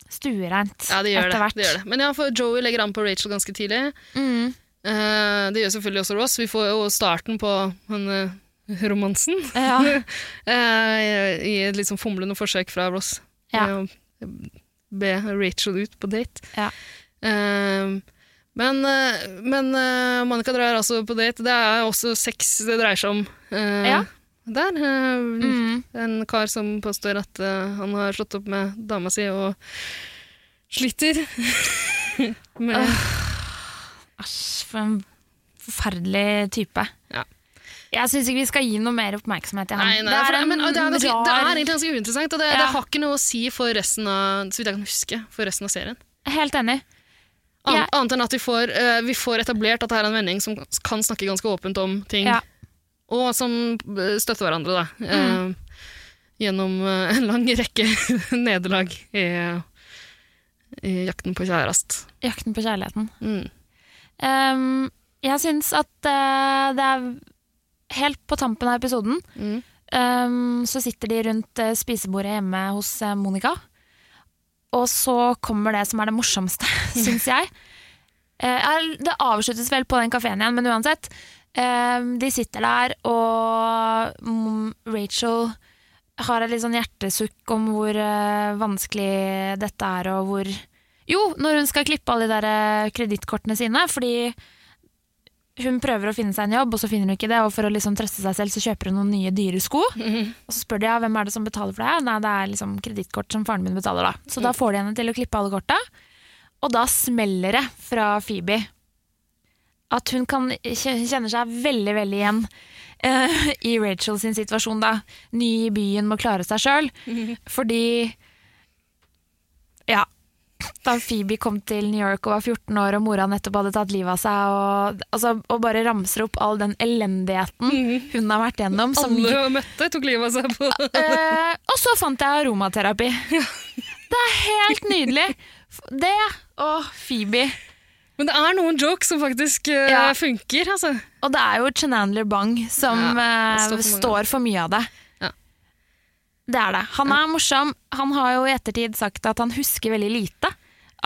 stuereint Ja, det gjør det. etter hvert. det gjør det. Men ja, for Joey legger an på Rachel ganske tidlig. Mm. Eh, det gjør selvfølgelig også Ross. Vi får jo starten på den eh, romansen Ja. eh, i et litt sånn fomlende forsøk fra Ross. Ja. med å Be Rachel ut på date. Ja. Eh, men eh, men eh, Monica drar altså på date. Det er også sex det dreier seg om eh, Ja. der. Eh, Mm. en kar som påstår at eh, han har slått opp med dama si og sliter med Æsj, for en forferdelig type. Ja. Jeg syns ikke vi skal gi noe mer oppmerksomhet til ham. Nei, nei, for det, er, men, det, er ganske, det er egentlig ganske uinteressant, og det, Ja. det har ikke noe å si for resten av, så vidt jeg kan huske, for resten av serien. Helt enig. Ann, Ja. Annet enn at vi får, eh, vi får etablert at det er en vending som kan snakke ganske åpent om ting, Ja. og som eh, støtter hverandre da, Mm. eh, gjennom eh, en lang rekke nederlag i, i jakten på kjærest. 'Jakten på kjærligheten'. Mm. Ehm, jeg syns at eh, det er Helt på tampen av episoden Mm. ehm, så sitter de rundt eh, spisebordet hjemme hos eh, Monica. Og så kommer det som er det morsomste, syns jeg. Eh, er- det avsluttes vel på den kafeen igjen, men uansett. ehm, de sitter der, og mm, Rachel har et litt sånn hjertesukk om hvor eh, vanskelig dette er, og hvor Jo, når hun skal klippe alle de der eh, kredittkortene sine, fordi hun prøver å finne seg en jobb, og så finner hun ikke det, og for å liksom trøste seg selv, så kjøper hun noen nye dyre sko. Og så spør de ja, hvem er det som betaler for det her? Nei, det er liksom kredittkort som faren min betaler, da. Så da får de henne til å klippe alle korta, og da smeller det fra Phoebe. At hun kan kje- kjenner seg veldig, veldig igjen eh, i Rachel sin situasjon, da. Ny i byen, må klare seg sjøl. Fordi Ja. Da Phoebe kom til New York og var 14 år, og mora nettopp hadde tatt livet av seg, og, altså, og bare ramser opp all den elendigheten hun har vært gjennom. som Alle hun møtte tok livet av seg på... Eh, og så fant jeg aromaterapi. Det er helt nydelig. F- Det og Phoebe. Men det er noen jokes som faktisk eh, Ja. funker, altså. Og det er jo Chenandler Bang som Ja, han eh, står for mange. står for mye av det. Ja. Det er det. Han er morsom. Han har jo i ettertid sagt at han husker veldig lite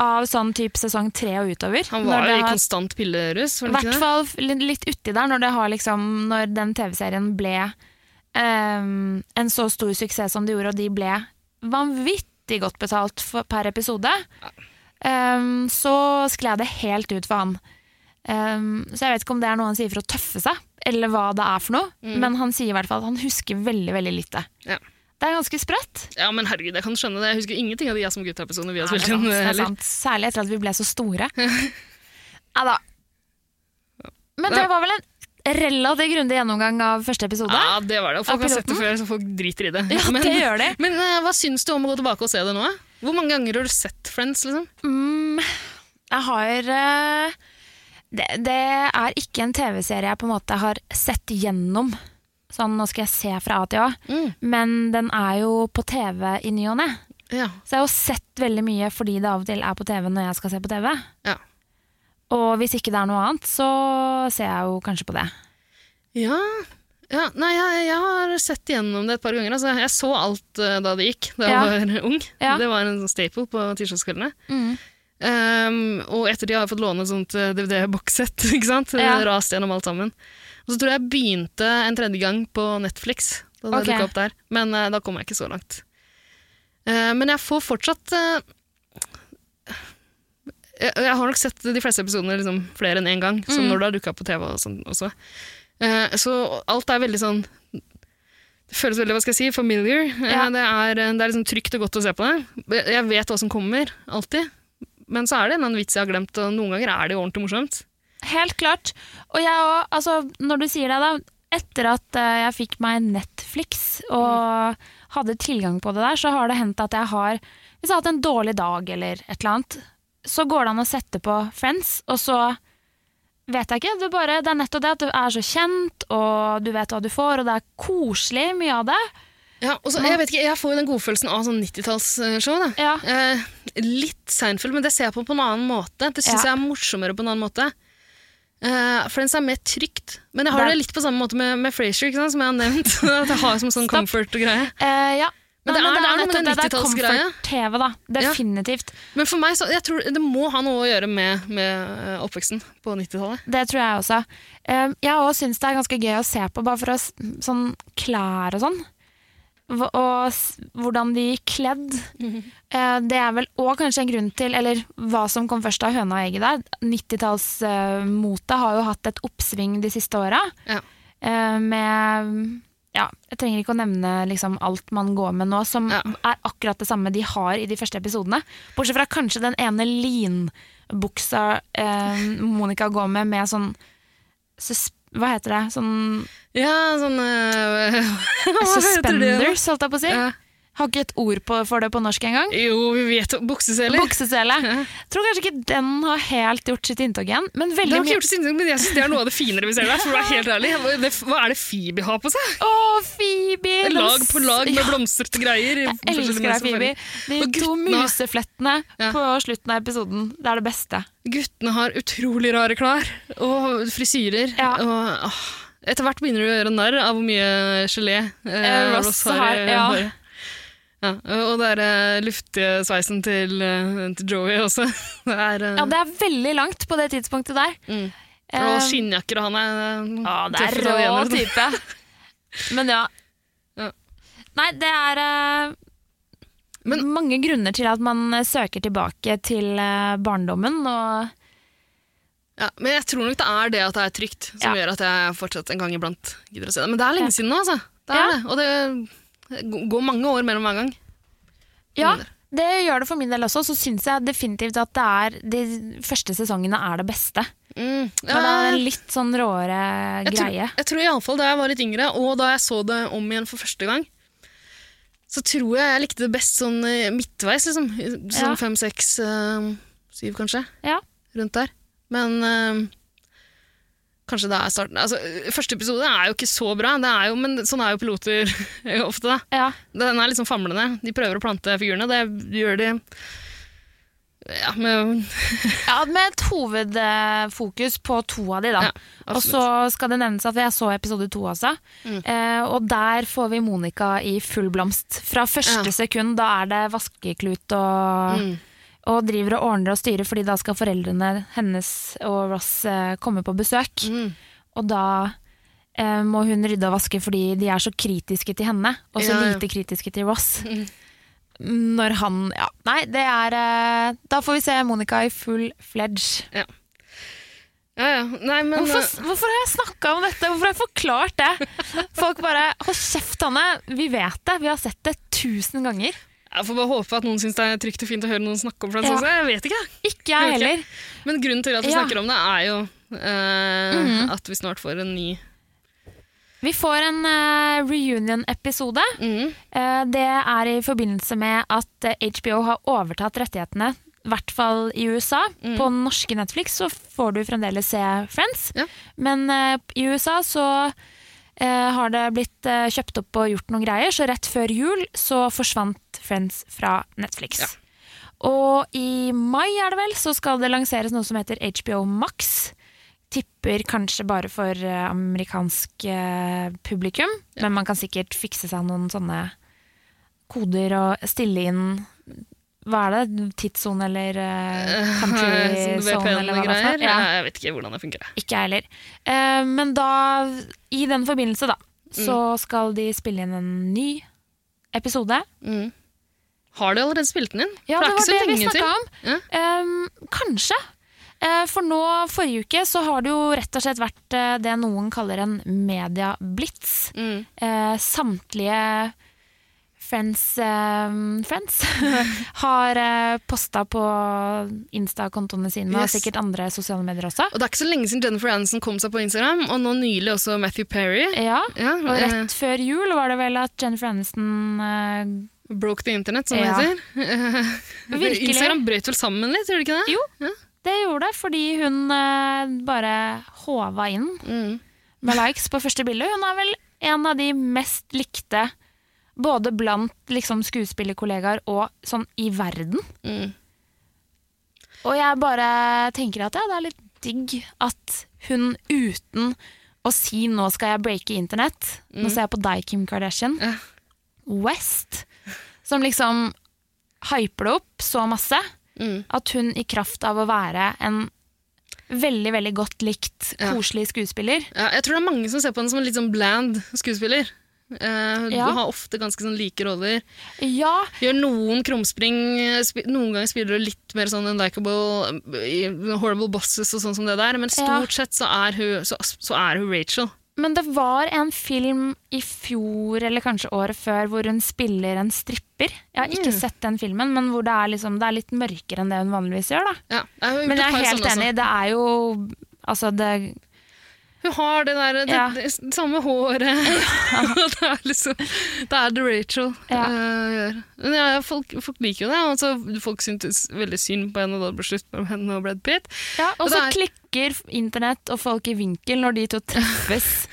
av sånn type sesong tre og utover. Han Når var jo det i har- konstant pillerus, I var det hvert ikke det? fall li- litt uti der, når, det har liksom, når den TV-serien ble ehm, en så stor suksess som det gjorde, og de ble vanvittig godt betalt for, per episode, ehm, så skled det helt ut for han. Ehm, så jeg vet ikke om det er noe han sier for å tøffe seg, eller hva det er for noe, Mm. men han sier i hvert fall at han husker veldig, veldig lite. Ja. Det er ganske sprøtt. Ja, men herregud, jeg kan skjønne det. Jeg husker ingenting av de Jeg som gutta-episodene vi har Nei, det er spilt sant, inn. eh, det er heller. sant. Særlig etter at vi ble så store. Nei da. Men det Nei. var vel en relativt grundig gjennomgang av første episode? Ja, det var det. Og folk Av har sett det piloten? før, så folk driter i det. Ja, det gjør de. Men eh, hva syns du om å gå tilbake og se det nå? eh? Hvor mange ganger har du sett Friends? liksom? Mm, jeg har eh, det, det er ikke en TV-serie jeg på en måte har sett gjennom. Sånn, nå skal jeg se fra A til A. Mm. Men den er jo på TV i ny og ne. Ja. Så jeg har jo sett veldig mye fordi det av og til er på TV når jeg skal se på TV. Ja. Og hvis ikke det er noe annet, så ser jeg jo kanskje på det. ja. Ja, nei, jeg, jeg har sett igjennom det et par ganger. Altså, jeg så alt eh, da det gikk, da Ja. jeg var ung. Ja. Det var en sånn staple på tirsdagskveldene. Mm. Um, og etter de har jeg fått låne et sånt eh, DVD-bokssett, ikke sant? Ja. Rast gjennom alt sammen. Og så tror jeg jeg begynte en tredje gang på Netflix, da det Ok. dukket opp der. Men eh, da kom jeg ikke så langt. Eh, men jeg får fortsatt eh, jeg, jeg har nok sett de fleste episodene liksom, flere enn én gang, som Mm. når det har dukka på TV og sånn også. Eh, så alt er veldig sånn Det føles veldig, hva skal jeg si, familiar. Eh, Ja. det, er, det er liksom trygt og godt å se på det. Jeg- Jeg vet hva som kommer, alltid. Men så er det en eller annen vits jeg har glemt, og noen ganger er det jo ordentlig morsomt. Helt klart. Og jeg òg, altså, når du sier det, da. Etter at eh, jeg fikk meg Netflix og hadde tilgang på det der, så har det hendt at jeg har Hvis jeg har hatt en dårlig dag eller et eller annet, så går det an å sette på Friends, og så vet jeg ikke. Det er, bare, det er nettopp det at det er så kjent, og du vet hva du får, og det er koselig mye av det. Ja, og så, jeg vet ikke, jeg får jo den godfølelsen av sånn 90-tallsshow. da. Ja. Eh, litt Seinfeld, men det ser jeg på på en annen måte. Det syns Ja. jeg er morsommere på en annen måte. Eh, Friends er mer trygt. Men jeg har Det det, er- litt på samme måte med, med Frasier, ikke sant, som jeg har nevnt. At jeg har som sånn Stopp. comfort-greie. Eh, ja. Men Nei, det er- det er noe med nettopp den det. Det er 90-tallsgreia. comfort-TV, da. Definitivt. Men for meg, så, jeg tror det må ha noe å gjøre med, med eh, oppveksten på 90-tallet. Det tror jeg også. Um, jeg òg syns det er ganske gøy å se på, bare for å, s- sånn klær og sånn. Hva- Og s- hvordan de gikk kledd. Mhm. Eh, det er vel òg kanskje en grunn til, eller hva som kom først av høna og egget der. 90-tallsmotet har jo hatt et oppsving de siste åra. Ja. Eh, med ja, jeg trenger ikke å nevne liksom, alt man går med nå, som Ja. er akkurat det samme de har i de første episodene. Bortsett fra kanskje den ene linbuksa eh, Monica går med, med sånn sus Hva heter det? Sånn Ja, sånn eh, Hva heter det? suspenders, holdt jeg på å si. Ja. Har ikke et ord på, for det på norsk engang. Jo, vi vet jo Bukseseler. Buksesele. Tror kanskje ikke den har helt gjort sitt inntog igjen, men Det veldig har ikke mye gjort sinnssykt, men jeg synes det er noe av det finere vi ser der. For å være helt ærlig, Hva- det, hva er det Phoebe har på seg? Å, Phoebe! Lag på lag med Ja. blomstrete greier. i Jeg elsker forskjellige deg, mennesker. Phoebe. De Og to guttene- museflettene Ja. på slutten av episoden. Det er det beste. Guttene har utrolig rare klær og frisyrer. Ja. Og, åh, etter hvert begynner du å gjøre narr av hvor mye gelé eh, Eh, Ross, Ross har. i har, ja. håret. Ja, og det er eh, luftige sveisen til, eh, til Joey også. Det er, eh, Ja, det er veldig langt på det tidspunktet der. Mm. Eh, og skinnjakker, og han er eh, ja, det er tøff rå italiener. type. Men ja. Ja. Nei, det er eh, mange grunner til at man eh, søker tilbake til eh, barndommen. Og Ja, men jeg tror nok det er det at det er trygt, som Ja. gjør at jeg fortsatt en gang iblant gidder å se det. Men det er lenge siden nå, altså. Det er Ja. det. Og det g- går mange år mellom hver gang. ja, det gjør det for min del også. Så syns jeg definitivt at det er de første sesongene er det beste. Ja, Når Mm. det er en litt sånn råere jeg, tror, greie. jeg tror iallfall da jeg var litt yngre, og da jeg så det om igjen for første gang, så tror jeg jeg likte det best sånn eh, midtveis, liksom. I- Sånn Ja. fem, seks, eh, syv kanskje. Ja. Rundt der. Men eh, kanskje det er starten Altså, første episode er jo ikke så bra, det er jo, men sånn er jo piloter ofte, da. Ja. Den er liksom famlende. De prøver å plante figurene. Det gjør de ja, med Ja, med et hovedfokus på to av de, da. Ja, og så skal det nevnes at jeg så episode to også. Mm. Eh, og der får vi Monica i full blomst. Fra første Ja. Mm. sekund, da er det vaskeklut og, og driver og ordner og styrer, fordi da skal foreldrene hennes og Ross eh, komme på besøk. Og da eh, må hun rydde og vaske fordi de er så kritiske til henne, og så Ja, ja. lite kritiske til Ross. Når han Ja, nei, det er eh, Da får vi se Monica i full fledge. Ja, ja. Nei, men Hvorfor, hvorfor har jeg snakka om dette? Hvorfor har jeg forklart det? Folk bare Hold kjeft, Hanne. Vi vet det. Vi har sett det tusen ganger. eh, Jeg får bare håpe at noen syns det er trygt og fint å høre noen snakke om Friends Ja. også. Jeg vet ikke. jeg. Ikke jeg Ok. heller. Men grunnen til at vi Ja. Mhm. snakker om det, er jo eh, at vi snart får en ny Vi får en eh, reunion-episode. Eh, det er i forbindelse med at eh, HBO har overtatt rettighetene, i hvert fall i USA. På norske Netflix så får du fremdeles se Friends, Ja. men eh, i USA så eh, har det blitt eh, kjøpt opp og gjort noen greier, så rett før jul så forsvant Friends fra Netflix. Og i mai er det vel, så skal det lanseres noe som heter HBO Max. tipper kanskje bare for eh, amerikansk eh, publikum, men man kan sikkert fikse seg noen sånne koder og stille inn Hva er det? Tidssone eller eh, country-sone sånn, eller hva det er? for noe? Ja. Ja. Jeg vet ikke hvordan det funker. jeg. Ikke jeg heller. Eh, men da, i den forbindelse, da, så Mm. skal de spille inn en ny episode. Har du allerede spilt den inn? Ja, For det var er det ikke vi så lenge til. snakka om. Ja. Ehm, kanskje. Eh, for nå, forrige uke, så har det jo rett og slett vært eh, det noen kaller en medieblitz. Mm. Eh, samtlige Friends, eh, friends har eh, posta på Insta-kontoene sine, og Yes. sikkert andre sosiale medier også. Og det er ikke så lenge siden Jennifer Aniston kom seg på Instagram, og nå nylig også Matthew Perry. Ja, Ja, eh, Og rett før jul var det vel at Jennifer Aniston eh, eh, broke the internet, som Ja. det heter. Virkelig. Instagram brøt vel sammen litt, gjorde det ikke det? Jo, det gjorde det, fordi hun eh, bare håva inn Mm. med likes på første bilde. Hun er vel en av de mest likte både blant liksom, skuespillerkollegaer og sånn i verden. Mm. Og jeg bare tenker at ja, det er litt digg at hun uten å si 'nå skal jeg breake internett', nå ser jeg på deg, Kim Kardashian, Mm. Ja. West, som liksom hyper det opp så masse, Mm. at hun i kraft av å være en veldig, veldig godt likt, Ja. koselig skuespiller Ja, jeg tror det er mange som ser på henne som en litt sånn bland skuespiller. Eh, Ja. Du har ofte ganske sånn like roller. Ja, Gjør noen krumspring. eh, spi- Noen ganger spiller du litt mer sånn unlikable, eh, i horrible bosses og sånn som det der, men Ja. stort sett så er hun, så, så er hun Rachel. Men det var en film i fjor, eller kanskje året før, hvor hun spiller en stripper. Jeg har ikke sett den filmen, men hvor det er, liksom, det er litt mørkere enn det hun vanligvis gjør. Da. Ja, jeg har gjort Men et jeg par er helt sånne også. enig, det er jo Altså, det Hun har det der, det, Ja. det, samme håret. det er liksom Det er det Rachel Ja. eh, gjør. Men ja, ja, folk, folk liker jo det. og så folk syntes veldig synd på henne da det ble slutt mellom henne og Brad Pitt. ja, Og det så er- klikker internett og folk i vinkel når de to treffes.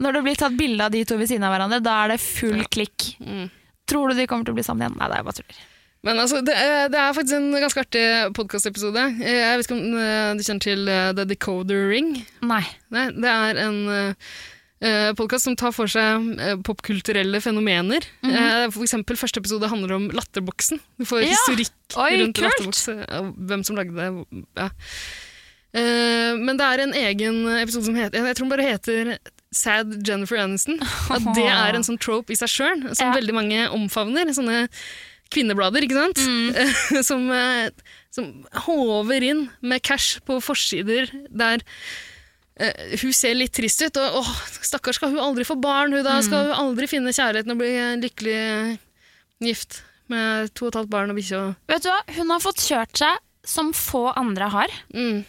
når det blir tatt bilde av de to ved siden av hverandre, da er det full klikk. Mm. Tror du de kommer til å bli sammen igjen? Nei, det er bare tuller. Men altså, det, er- det er faktisk en ganske artig podkastepisode. Jeg vet ikke om eh, du kjenner til eh, The Decoder Ring? Nei. Nei, det er en uh, podkast som tar for seg eh, popkulturelle fenomener. Eh, for eksempel første episode handler om Latterboksen. Du får Mhm. Ja. historikk Oi, rundt kult! Latterboks. eh, Hvem som lagde det. hvor- Ja. Eh, men det er en egen episode som heter Jeg tror den bare heter Sad Jennifer Aniston. At det er en sånn trope i seg sjøl, som Ja. veldig mange omfavner. Sånne kvinneblader, ikke sant? Mm. Eh, som, eh, som håver inn med cash på forsider der eh, hun ser litt trist ut, og åh, stakkars, skal hun aldri få barn, hun da? Mm. Skal hun aldri finne kjærligheten og bli eh, lykkelig gift med to og et halvt barn og bikkje og Vet du hva, hun har fått kjørt seg som få andre har. mm.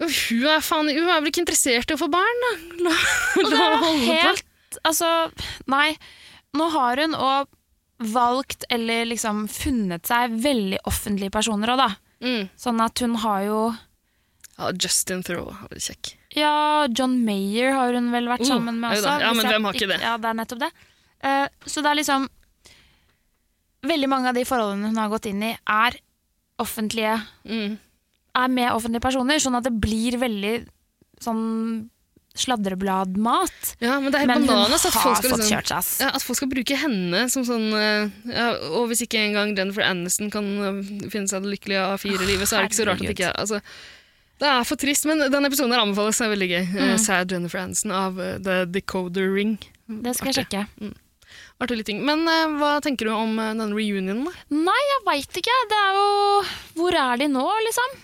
Og Hun er, faen, hun er vel ikke interessert i å få barn, da? La, Og det la er henne holde på. helt Altså, nei. Nå har hun òg valgt, eller liksom funnet seg, veldig offentlige personer òg, da. Mm. Sånn at hun har jo Ja, Justin Theroux var litt kjekk. Ja, John Mayer har hun vel vært Uh, sammen med jo også. da. Ja, hvis men jeg hvem har ikke det? Ja, det er nettopp det. Eh, så det er liksom Veldig mange av de forholdene hun har gått inn i, er offentlige Mm. Er med offentlige personer, sånn at det blir veldig sånn sladrebladmat. Ja, men det er helt Men hun har bananas at folk skal fått liksom kjørt seg, ass. ja, at folk skal bruke henne som sånn eh, ja, Og hvis ikke engang Jennifer Aniston kan eh, finne seg det lykkelige A4-livet, så er det ikke så rart at Herregud. ikke altså, Det er for trist, men den episoden her anbefales. Den er veldig gøy. Eh, Sad Jennifer Aniston av eh, The Decoder Ring. Det skal jeg Artig. sjekke. Artig liten ting. Men eh, hva tenker du om eh, denne reunionen, da? Nei, jeg veit ikke. Det er jo Hvor er de nå, liksom?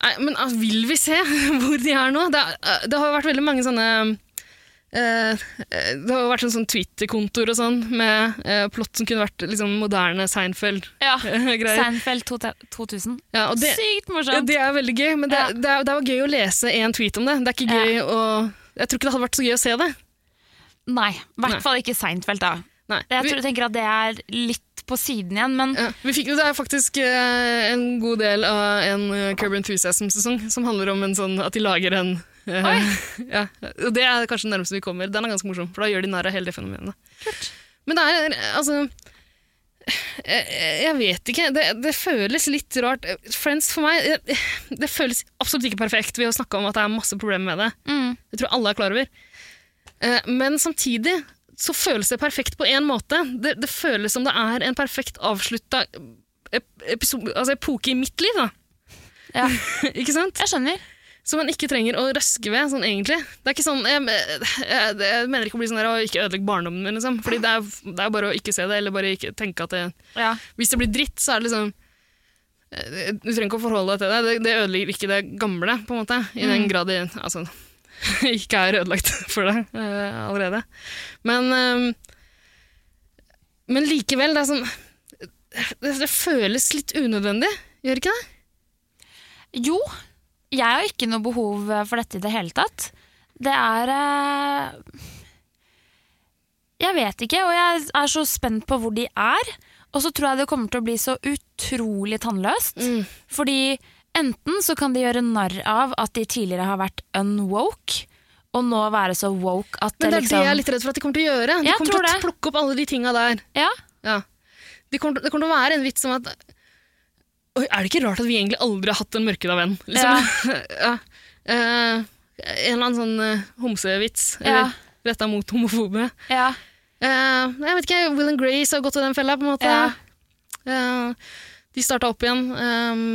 Nei, men altså, vil vi se hvor de er nå? Det, er- eh, det har jo vært veldig mange sånne eh, eh, det har jo vært en sånn Twitter-kontor og sånn, med eh, plott som kunne vært liksom, moderne Seinfeld-greier. Seinfeld to- 2000. Ja, og det, Sykt ja, morsomt! det er veldig gøy, men det, Ja. det, er, det var gøy å lese én tweet om det. Det er ikke gøy å Jeg tror ikke det hadde vært så gøy å se det. Nei, i Nei. hvert fall ikke Seinfeld, da. Nei. Jeg Vi, tror, tenker at det er litt på siden igjen, men ja, vi fikk jo det er faktisk eh, en god del av en eh, Curb Enthusiasm-sesong som handler om en sånn, at de lager en eh, ja, og Det er kanskje det nærmeste vi kommer. Den er ganske morsom, for da gjør de narr av hele det fenomenet. Men det er eh, altså Jeg, jeg vet ikke. Det, det føles litt rart. Friends for meg jeg- Det føles absolutt ikke perfekt. Vi har snakka om at det er masse problemer med det. Mm. Det tror jeg alle er klar over. Eh, Men samtidig så føles det perfekt på én måte. Det, det føles som det er en perfekt avslutta ep- episo- altså epoke i mitt liv, da. Ja. ikke sant? Jeg skjønner. Som man ikke trenger å røske ved, sånn egentlig. Det er ikke sånn, jeg, jeg, jeg mener ikke å bli sånn der å ikke ødelegge barndommen min, liksom. Fordi det er, det er bare å ikke se det, eller bare ikke tenke at det Ja. Hvis det blir dritt, så er det liksom eh, Du trenger ikke å forholde deg til det. Det, det ødelegger ikke det gamle, på en måte. I den Mm. grad det altså, ikke er ødelagt for deg eh, allerede. Men, eh, men likevel, det er sånn det, det føles litt unødvendig, gjør ikke det? Jo, jeg har ikke noe behov eh, for dette i det hele tatt. Det er eh, Jeg vet ikke, og jeg er så spent på hvor de er. Og så tror jeg det kommer til å bli så utrolig tannløst. Mm. Fordi enten så kan de gjøre narr av at de tidligere har vært unwoke, og nå være så woke at Men det er liksom det jeg er litt redd for at de kommer til å gjøre. De Jeg kommer tror til å det. plukke opp alle de tinga der. Ja, Ja. De kommer, til- det kommer til å være en vits om at Oi, er det ikke rart at vi egentlig aldri har hatt en mørkhuda venn? Liksom. Ja. Eh, en eller annen sånn eh, homsevits Ja. eller retta mot homofobe. ja, Eh, jeg vet ikke, Will and Grace har gått i den fella, på en måte. Ja. Eh, de starta opp igjen eh,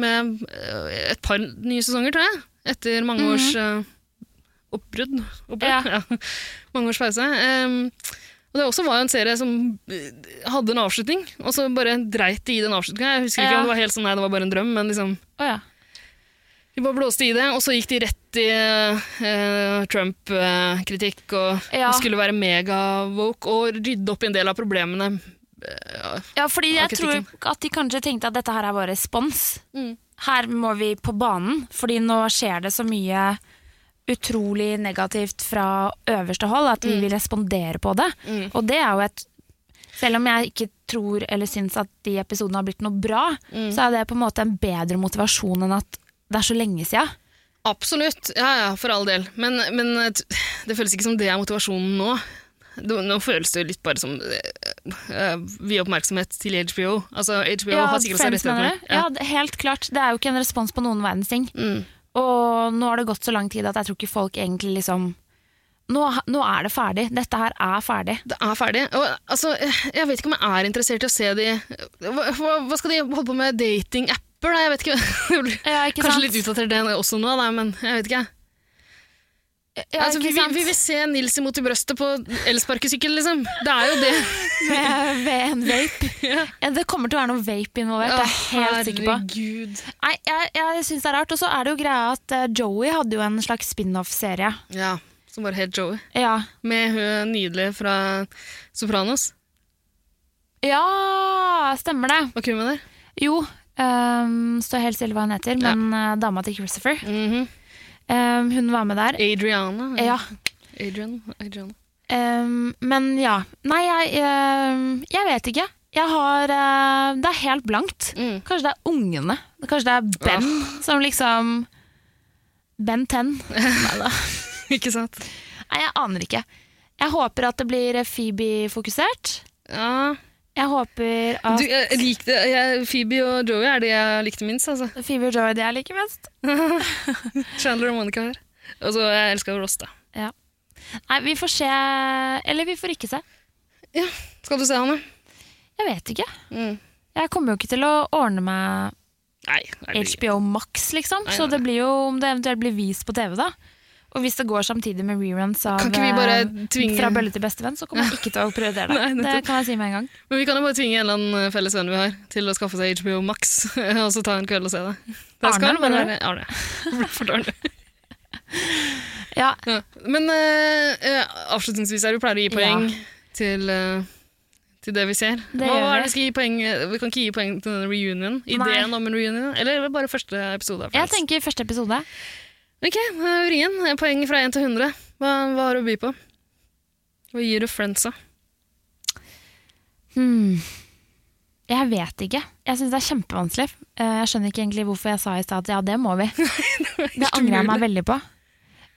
med eh, et par nye sesonger, tror jeg. Etter mange Mhm. års eh, oppbrudd. oppbrudd? Ja. Mange års pause. Eh, og det også var jo en serie som eh, hadde en avslutning, og så bare dreit de i den avslutninga. Jeg husker ikke Ja. om det var helt sånn, nei, det var bare en drøm, men liksom Å ja. de bare blåste i det, og så gikk de rett i eh, Trump-kritikk og, Ja. og skulle være mega-woke og rydde opp i en del av problemene. Eh, ja, fordi jeg tror Kritikken. at de kanskje tenkte at dette her er bare respons. Mm. her må vi på banen, fordi nå skjer det så mye utrolig negativt fra øverste hold at vi Mm. vil respondere på det. Og det er jo et Selv om jeg ikke tror eller syns at de episodene har blitt noe bra, Mm. så er det på en måte en bedre motivasjon enn at det er så lenge sia. Absolutt, ja, ja, for all del. Men, men eh, t- det føles ikke som det er motivasjonen nå. Det, nå føles det jo litt bare som eh, eh, vi oppmerksomhet til HBO. Altså, HBO har sikkert også rettighetene. ja, det- helt klart. Det er jo ikke en respons på noen verdens ting. Mm. Og nå har det gått så lang tid at jeg tror ikke folk egentlig liksom Nå, nå er det ferdig. Dette her er ferdig. Det er ferdig. Og, altså, jeg vet ikke om jeg er interessert i å se de Hva, hva hva skal de holde på med? Datingapper? da? Jeg vet ikke. Det blir- Ja, ikke sant? Kanskje litt utdatert det også nå, da, men jeg vet ikke. Ja, altså, ikke vi, sant? vi vil se Nils imot i brøstet på elsparkesykkel, liksom. Det er jo det. med, ved en vape. Ja, det kommer til å være noe vape involvert, det er jeg helt sikker på. Herregud. Nei, jeg, jeg synes det er rart. Og så er det jo greia at eh, Joey hadde jo en slags spin-off-serie. Ja, som bare het Joey. Ja. Med hun nydelige fra Sopranos. ja, stemmer det. Var ikke hun med der? Jo, um, står helt stille hva hun heter, Ja. men eh, dama til Christopher, Mhm. ehm, hun var med der. Adriana. Ja, Adrian, Adriana. ehm, men ja. Nei, jeg, ehm, jeg vet ikke. Jeg har eh, Det er helt blankt. Mm. Ah. Kanskje det er ungene. Kanskje det er Ben som liksom Ben 10. ikke sant? Nei, jeg aner ikke. Jeg håper at det blir Phoebe-fokusert. Ja. Jeg håper at Du, jeg likte, jeg, Phoebe og Joey er det jeg likte minst, altså. Phoebe og Joy det jeg liker best. Chandler og Monica her. Og så jeg elsker jo Ross, da. Nei, vi får se Eller vi får ikke se. Skal du se han, da? Jeg vet ikke. Mm. Jeg kommer jo ikke til å ordne meg Nei. det blir ikke. HBO Max, liksom. Nei, Så nei, det blir jo om det eventuelt blir vist på TV, da. Og hvis det går samtidig med reruns av Kan ikke vi bare eh, tvinge- Fra bølle til bestevenn, så kommer jeg ikke til å prioritere det. Nei, nettopp. det kan jeg si med en gang. Men vi kan jo bare tvinge en eller annen eh, felles venn vi har, til å skaffe seg HBO Max, og så ta en kveld og se det. Det skal Arne, bare mener du? være Arne. Fort Arne. Ja, Ja. Men eh, eh, avslutningsvis her, vi pleier å gi poeng til, eh, til det vi ser. Det Hva gjør er vi. det vi skal gi poeng eh, Vi kan ikke gi poeng til denne reunion. Ideen om en reunion, eller bare første episode? jeg av Friends? tenker første episode. Ok, da er vi ringen. Poeng fra 1 til 100. Hva, hva har du å by på? Hva gir du Friends, da? Hmm. Jeg vet ikke. Jeg syns det er kjempevanskelig. Eh, Jeg skjønner ikke egentlig hvorfor jeg sa i stad at ja, det må vi. Det angrer jeg meg veldig på.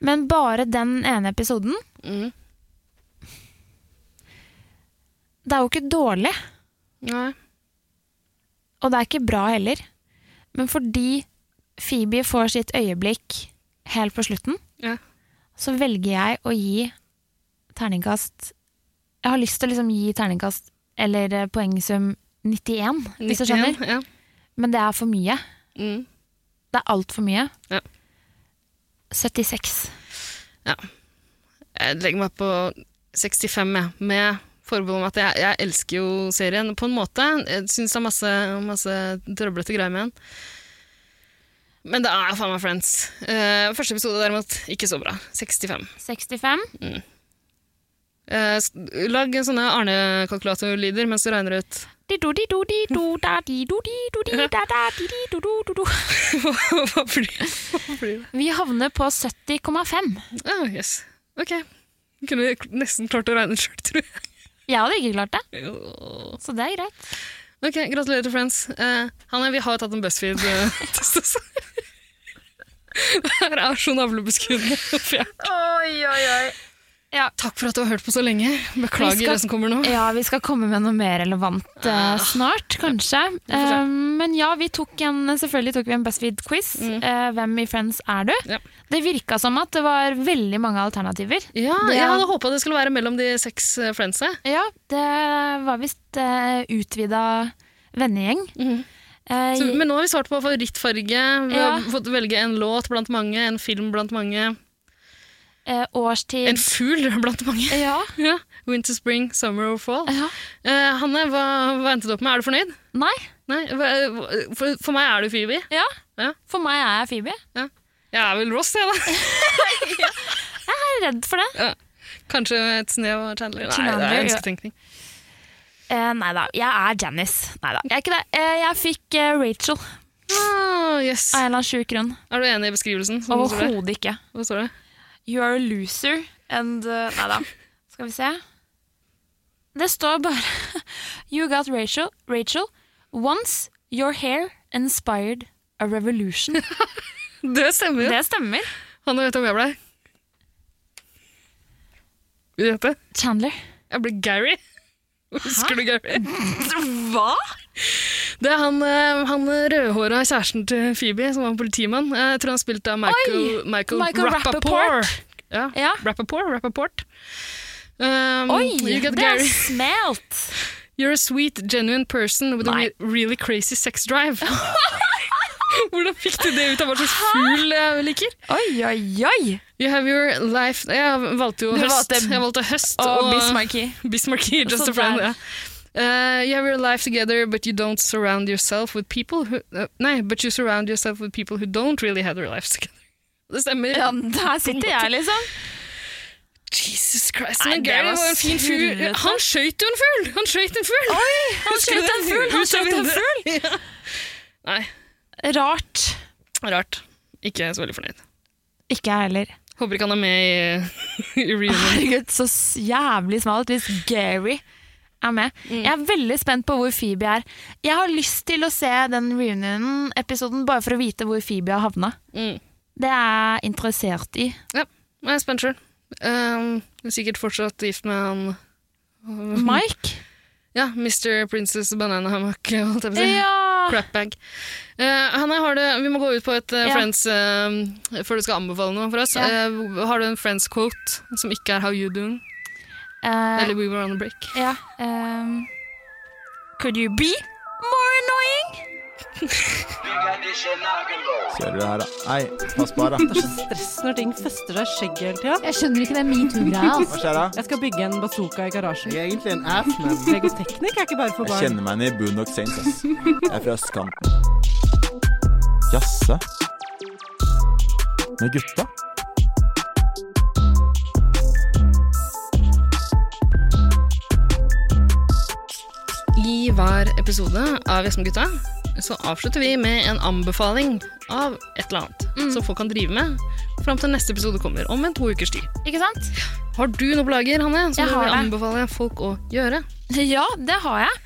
Men bare den ene episoden Mm. Det er jo ikke dårlig. Nei. Og det er ikke bra heller. Men fordi Phoebe får sitt øyeblikk helt på slutten, Ja. så velger jeg å gi terningkast Jeg har lyst til å liksom gi terningkast eller eh, poengsum 91, hvis du skjønner. 91, Ja. Men det er for mye. Mm. Det er altfor mye. Ja. 76. Jeg legger meg på 65, jeg. Med forbehold om at jeg, jeg elsker jo serien på en måte. Jeg syns det er masse, masse trøblete greier med den. Men det er jo faen meg Friends. Eh, første episode derimot, ikke så bra. 65. 65. Eh, s- lag sånne Arne-kalkulatorlyder mens du regner ut hva blir det. Vi havner på 70,5. Ah, yes. Ok. Kunne nesten klart å regne sjøl, tror jeg. Jeg hadde ikke klart det, Åh. så det er greit. Ok, Gratulerer til Friends. Eh, Hanne, vi har tatt en BuzzFeed-test også. altså. Det her er så navlebeskuende. For jeg- Ja. Takk for at du har hørt på så lenge. Beklager Vi skal- eh, det som kommer nå. Ah, Ja, vi skal komme med noe mer relevant eh, snart, kanskje. får se. Eh, men ja, vi tok en, selvfølgelig tok vi en BuzzFeed-quiz. Eh, hvem i Friends er du? Mm. Ja. Det virka som at det var veldig mange alternativer. Ja, Det- jeg hadde håpa det skulle være mellom de seks eh, friendsa. Ja, det var visst uh, utvida vennegjeng. Mhm. Eh, Så, men nå har vi svart på favorittfarge. Vi Ja. har fått velge en låt blant mange, en film blant mange. eh, årstid En fugl blant mange. Ja. Ja. Winter, spring, summer or fall. ja. Eh, Hanne, hva, hva endte du opp med? Er du fornøyd? Nei. Nei, hva- for, for meg er du Phoebe. Ja. Ja. For meg er jeg Phoebe. Jeg er vel Ross, jeg, da. Jeg er redd for det. Kanskje et snev av Chandler. Nei, det Chandler, er ja. ønsketenkning. Eh, nei da, jeg er Janice. Nei da, jeg er ikke det. Eh, jeg fikk eh, Rachel av Ah, yes. en eller annen sjuk grunn. Er du enig i beskrivelsen? Som det står der? Overhodet ikke. Hva står det? You are a loser and uh, Nei da. Skal vi se. Det står bare You got Rachel, Rachel. Once your hair inspired a revolution. Det stemmer jo. Det stemmer. Hanne, vet du om jeg ble? Vil du gjette? Chandler. Jeg ble Gary. Husker du Gary? Hva? Det er han, eh, han rødhåra kjæresten til Phoebe, som var politimann. Eh, Jeg tror han spilte av Michael, Michael, Michael Rappaport. Ja, Ja. Rappaport, Rappaport. Um, Oi, you got det er Gary. smelt! You're a sweet, genuine person with Nei. a re- really crazy sex drive. Hvordan fikk du det ut av hva slags fugl jeg liker? Oi, oi, oi! You have your life Jeg valgte jo Du høst. valgte- jeg valgte høst Og og Bismarcky. Bismarcky, just Så a friend. der. Ja. Uh, you have your life together, but you don't surround yourself with people who uh, Nei, but you surround yourself with people who don't really have their lives together. Det stemmer. Ja, der sitter jeg, liksom. Jesus Christ. Nei, Men det Gary var var en fin fugl. helvete. Han skøyt jo en fugl! Han skøyt en fugl! Han Husker du skjøt en det? fugl! Han Ut av skjøt en vinduet. fugl! Nei, Rart. rart. Ikke så veldig fornøyd. Ikke jeg heller. Håper ikke han er med i, i reunion. Herregud, så s- jævlig smalt hvis Gary er med. Jeg er veldig spent på hvor Phoebe er. Jeg har lyst til å se den reunion-episoden bare for å vite hvor Phoebe har havna. Mm. Det er jeg interessert i. Jeg er spent sjøl. Um, er sikkert fortsatt gift med han Mike? Ja, Mr. Princess Banana Hammock, holdt jeg på å si. Ja! Crapbag. Eh, Hanne, har du, vi må gå ut på et eh, Ja. Friends eh, før du skal anbefale noe for oss. Ja. Eh, har du en Friends-quote som ikke er How you doing? Eh, Eller We were on a break? ja. ehm, could you be more annoying? Kjører du her, da? Nei, pass på her, da. Det er så stress når ting fester seg i skjegget hele tida. Jeg skjønner ikke det metoo-greia. Altså. Hva skjer da? Jeg skal bygge en bazooka i garasjen. Jeg er egentlig en ass, men Legoteknikk er ikke bare for Jeg barn. kjenner meg igjen i Boondock Saints, ass. Jeg er fra østkanten. Jasse? Med gutta? I hver episode av Gjesmegutta så avslutter vi med en anbefaling av et eller annet Mm. som folk kan drive med fram til neste episode kommer, om en to ukers tid. Ikke sant? Har du noe på lager, Hanne, som Jeg du har vil det. anbefale folk å gjøre? Ja, det har jeg.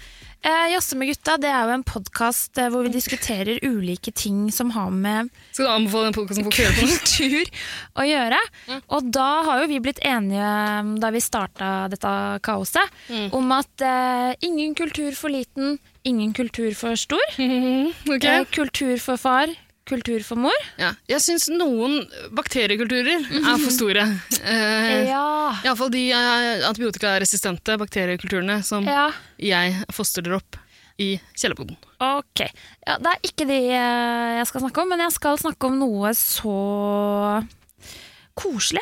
Eh, Josse med gutta det er jo en podkast hvor vi diskuterer ulike ting som har med Skal du anbefale den podkasten folk hører på? kultur å gjøre. Og da har jo vi blitt enige um, da vi starta dette kaoset, Mm. om at eh, ingen kultur for liten, ingen kultur for stor. ok. Eh, kultur for far, kultur for mor. Ja. Jeg syns noen bakteriekulturer er for store. Eh, Ja. Iallfall de eh, antibiotikaresistente bakteriekulturene som ja. jeg fostrer opp i kjellerboden. Ok. Ja, det er ikke det eh, jeg skal snakke om, men jeg skal snakke om noe så koselig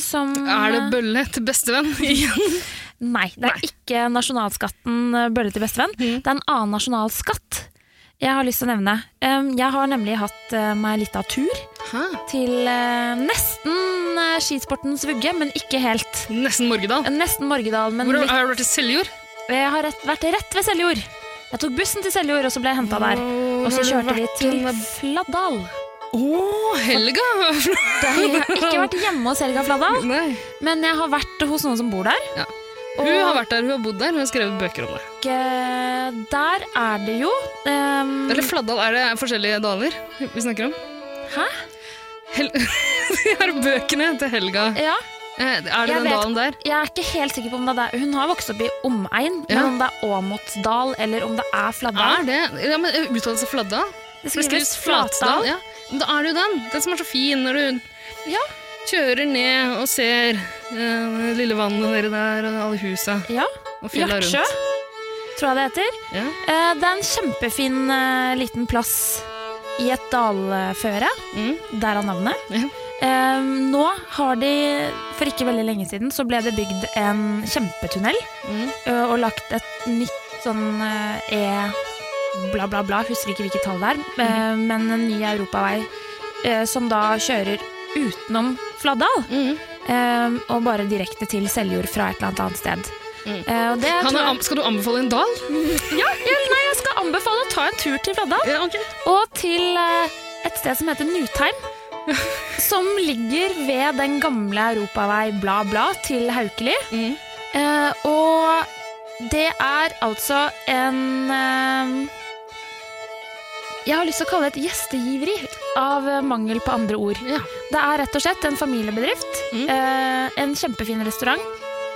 som Mm. Er det bølle til bestevenn igjen? Nei, det er ikke nasjonalskatten eh, bølle til bestevenn. Mm. Det er en annen nasjonalskatt jeg har lyst til å nevne. Um, Jeg har nemlig hatt eh, meg litt av tur Hæ? til eh, nesten eh, skisportens vugge, men ikke helt. Nesten Morgedal. Nesten Morgedal, men Hvor litt. har du vært i Seljord? Jeg har rett, vært rett ved Seljord. Jeg tok bussen til Seljord, og så ble jeg henta der. Og så har du kjørte vi vært til en- Fladdal. Å, Helga! Jeg har ikke vært hjemme hos Helga Fladdal, Nei. men jeg har vært hos noen som bor der. Ja. Og Hun har vært der, hun har bodd der, hun har skrevet bøker om det. eh, der er det jo ehm, Eller Fladdal, er det forskjellige daler vi snakker om? Hæ? Hel De her bøkene til Helga. Ja, Eh, Er det Jeg den vet- dalen der? jeg er ikke helt sikker på om det er der. Hun har vokst opp i omegn, Ja. men om det er Åmotdal eller om det er Er Fladdal det? Ja, men eh, Uttales det Fladdal? Det Det skrives Flatdal. Ja. Men Da er det jo den. Den som er så fin når du Ja. kjører ned og ser eh, det lille vannet nedi der og alle husa Ja. og fjella rundt. Hjartsjø, tror jeg det heter. Ja. Eh, Det er en kjempefin eh, liten plass i et dalføre. Mm. Der er navnet. Ja. Eh, Nå har de, for ikke veldig lenge siden, så ble det bygd en kjempetunnel. Mm. ø, Og lagt et nytt sånn eh, E bla, bla, bla, husker ikke hvilket tall det er. Mm. eh, Men en ny europavei eh, som da kjører utenom Fladdal. Mm. eh, Og bare direkte til Seljord fra et eller annet annet sted. Mm. Eh, og det Kan tror jeg jeg- am- skal du anbefale en dal? ja, ja, nei, jeg skal anbefale å ta en tur til Fladdal. Ja, ok. Og til eh, et sted som heter Nutheim. Som ligger ved den gamle europavei bla bla til Haukeli. Mm. Eh, og det er altså en eh, Jeg har lyst til å kalle det et gjestegiveri av eh, mangel på andre ord. Ja. Det er rett og slett en familiebedrift. Mm. eh, en kjempefin restaurant.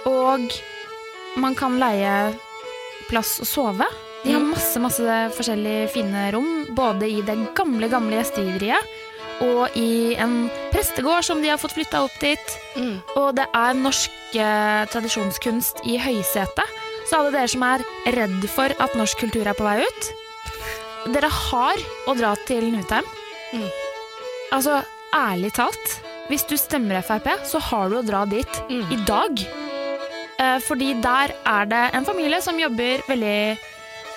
Og man kan leie plass å sove. De har Mm. masse masse forskjellige fine rom, både i det gamle, gamle gjestgiveriet og i en prestegård som de har fått flytta opp dit. Mm. Og det er norsk eh, tradisjonskunst i høysetet. Så alle dere som er redd for at norsk kultur er på vei ut, dere har å dra til Nutheim. Mm. Altså, ærlig talt, hvis du stemmer Frp, så har du å dra dit Mm. i dag. Eh, fordi der er det en familie som jobber veldig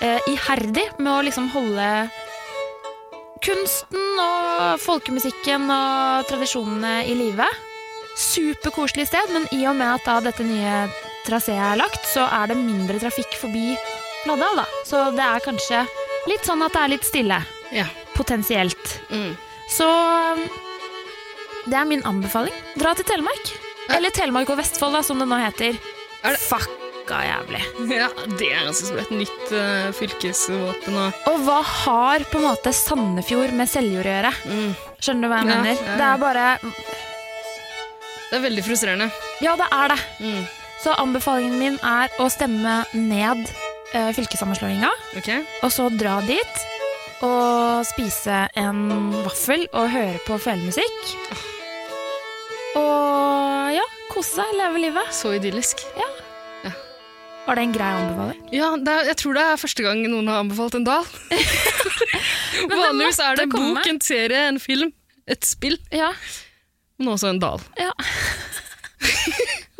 eh, iherdig med å liksom holde kunsten og folkemusikken og tradisjonene i live. Superkoselig sted, men i og med at da dette nye traseet er lagt, så er det mindre trafikk forbi Fladdal, da. Så det er kanskje litt sånn at det er litt stille. Ja. Potensielt. Mm. Så um, det er min anbefaling. Dra til Telemark. Eller Telemark og Vestfold, da, som det nå heter. Er det- Fucka jævlig. Ja, det er ganske sprøtt. Nytt eh, fylkesvåpen og Og hva har på en måte Sandefjord med Seljord å gjøre? mm. Skjønner du hva jeg Ja, mener? ja, ja. Det er bare Det er veldig frustrerende. Ja, det er det. Mm. Så anbefalingen min er å stemme ned eh, fylkessammenslåinga, Ok? og så dra dit og spise en vaffel og høre på felemusikk. Og ja, kose seg, leve livet. Så idyllisk. Var det en grei anbefaling? Ja, det er, jeg tror det er første gang noen har anbefalt en dal. det Vanligvis er det måtte en komme. bok, en serie, en film, et spill, Ja. men også en dal. Ja.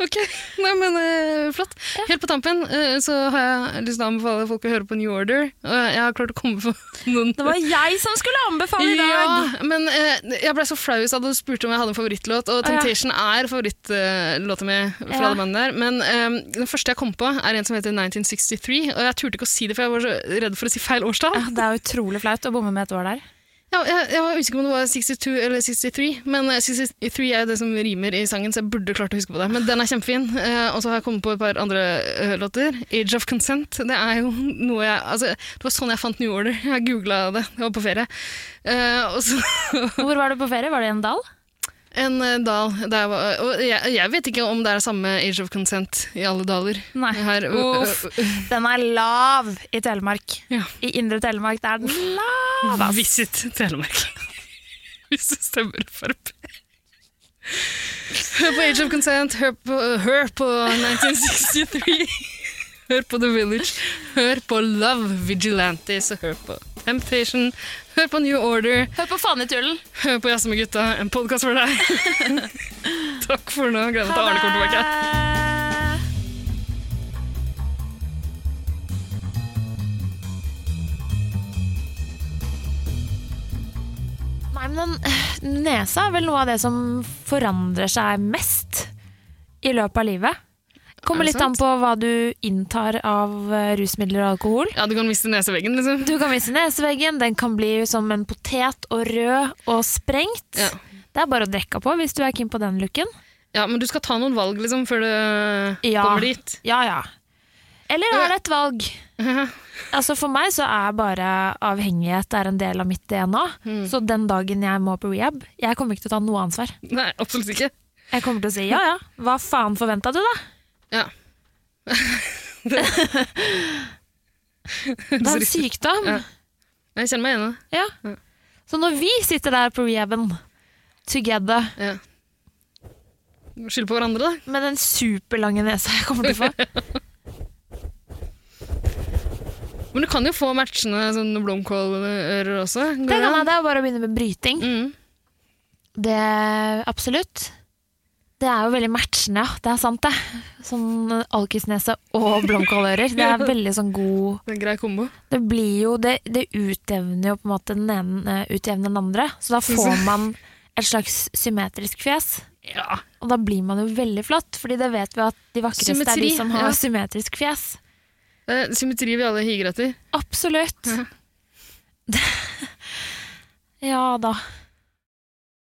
ok, Nei, men eh, flott. Helt på tampen eh, så har jeg lyst til å anbefale folk å høre på New Order. og jeg har klart å komme på noen Det var jeg som skulle anbefale i dag! Ja, men eh, jeg ble så flau i stad da du spurte om jeg hadde en favorittlåt, og Å, ja. Temptation er favorittlåta mi fra Ja. det bandet der. Men eh, den første jeg kom på, er en som heter 1963, og jeg turte ikke å si det, for jeg var så redd for å si feil årstall. Ja, Det er utrolig flaut å bomme med et år der. Ja, jeg, jeg var usikker på om det var 62 eller 63, men eh, 63 er jo det som rimer i sangen, så jeg burde klart å huske på det. Men den er kjempefin. Eh, og så har jeg kommet på et par andre eh, låter. Age of Consent. Det er jo noe jeg Altså, det var sånn jeg fant New Order. Jeg googla det. Jeg var på ferie. Eh, og så Hvor var du på ferie? Var det i en dal? en eh, dal der jeg var Og jeg, jeg vet ikke om det er samme Age of Consent i alle daler. eh, Nei. Her, Uff. Den er lav i Telemark. Ja. I indre Telemark det er den lav. ass. eh, Visit Telemark. Hvis du stemmer Frp. Hør på Age of Consent, hør på, eh, hør på 1963. Hør på The Village, hør på Love Vigilantes, og hør på Temptation, hør på New Order, Hør på fanetullen. hør på Jazze med gutta, en podkast for deg. Takk for nå. Gleder meg til Arne Eh. kommer tilbake. det! Nei, men den nesa er vel noe av det som forandrer seg mest i løpet av livet. Kommer Er det litt an på hva du inntar av eh, rusmidler og alkohol. Ja, du kan miste neseveggen, liksom. Du kan miste neseveggen, den kan bli som en potet og rød og sprengt. Ja. Det er bare å drikke på hvis du er keen på den looken. Ja, men du skal ta noen valg, liksom, før du Ja. kommer dit. Ja, ja. Eller er det et valg? Altså For meg så er bare avhengighet er en del av mitt DNA. Så den dagen jeg må på rehab, jeg kommer ikke til å ta noe ansvar. Nei, absolutt ikke. Jeg kommer til å si ja ja, hva faen forventa du da? Ja. Det er en sykdom. Ja. Jeg kjenner meg igjen i det. Ja. Så når vi sitter der på rehaben together Ja. Skylde på hverandre, da. med den superlange nesa jeg kommer til å få Men du kan jo få matchende sånn blomkålører også. Går Det, kan, an? jeg- det er bare å begynne med bryting. Mm. Det Absolutt. Det er jo veldig matchende, ja. Det er sant, det. Sånn alkisnese og blomkålører. Det er veldig sånn god Det er en grei kombo. Det blir jo Det, det utjevner jo på en måte den ene eh, utjevner den andre. Så da får man et slags symmetrisk fjes. Ja. Og da blir man jo veldig flott, Fordi det vet vi at de vakreste er de Symmetri, som har ja. symmetrisk fjes. Det er Eh, symmetri vi alle higer etter. Absolutt. ja da.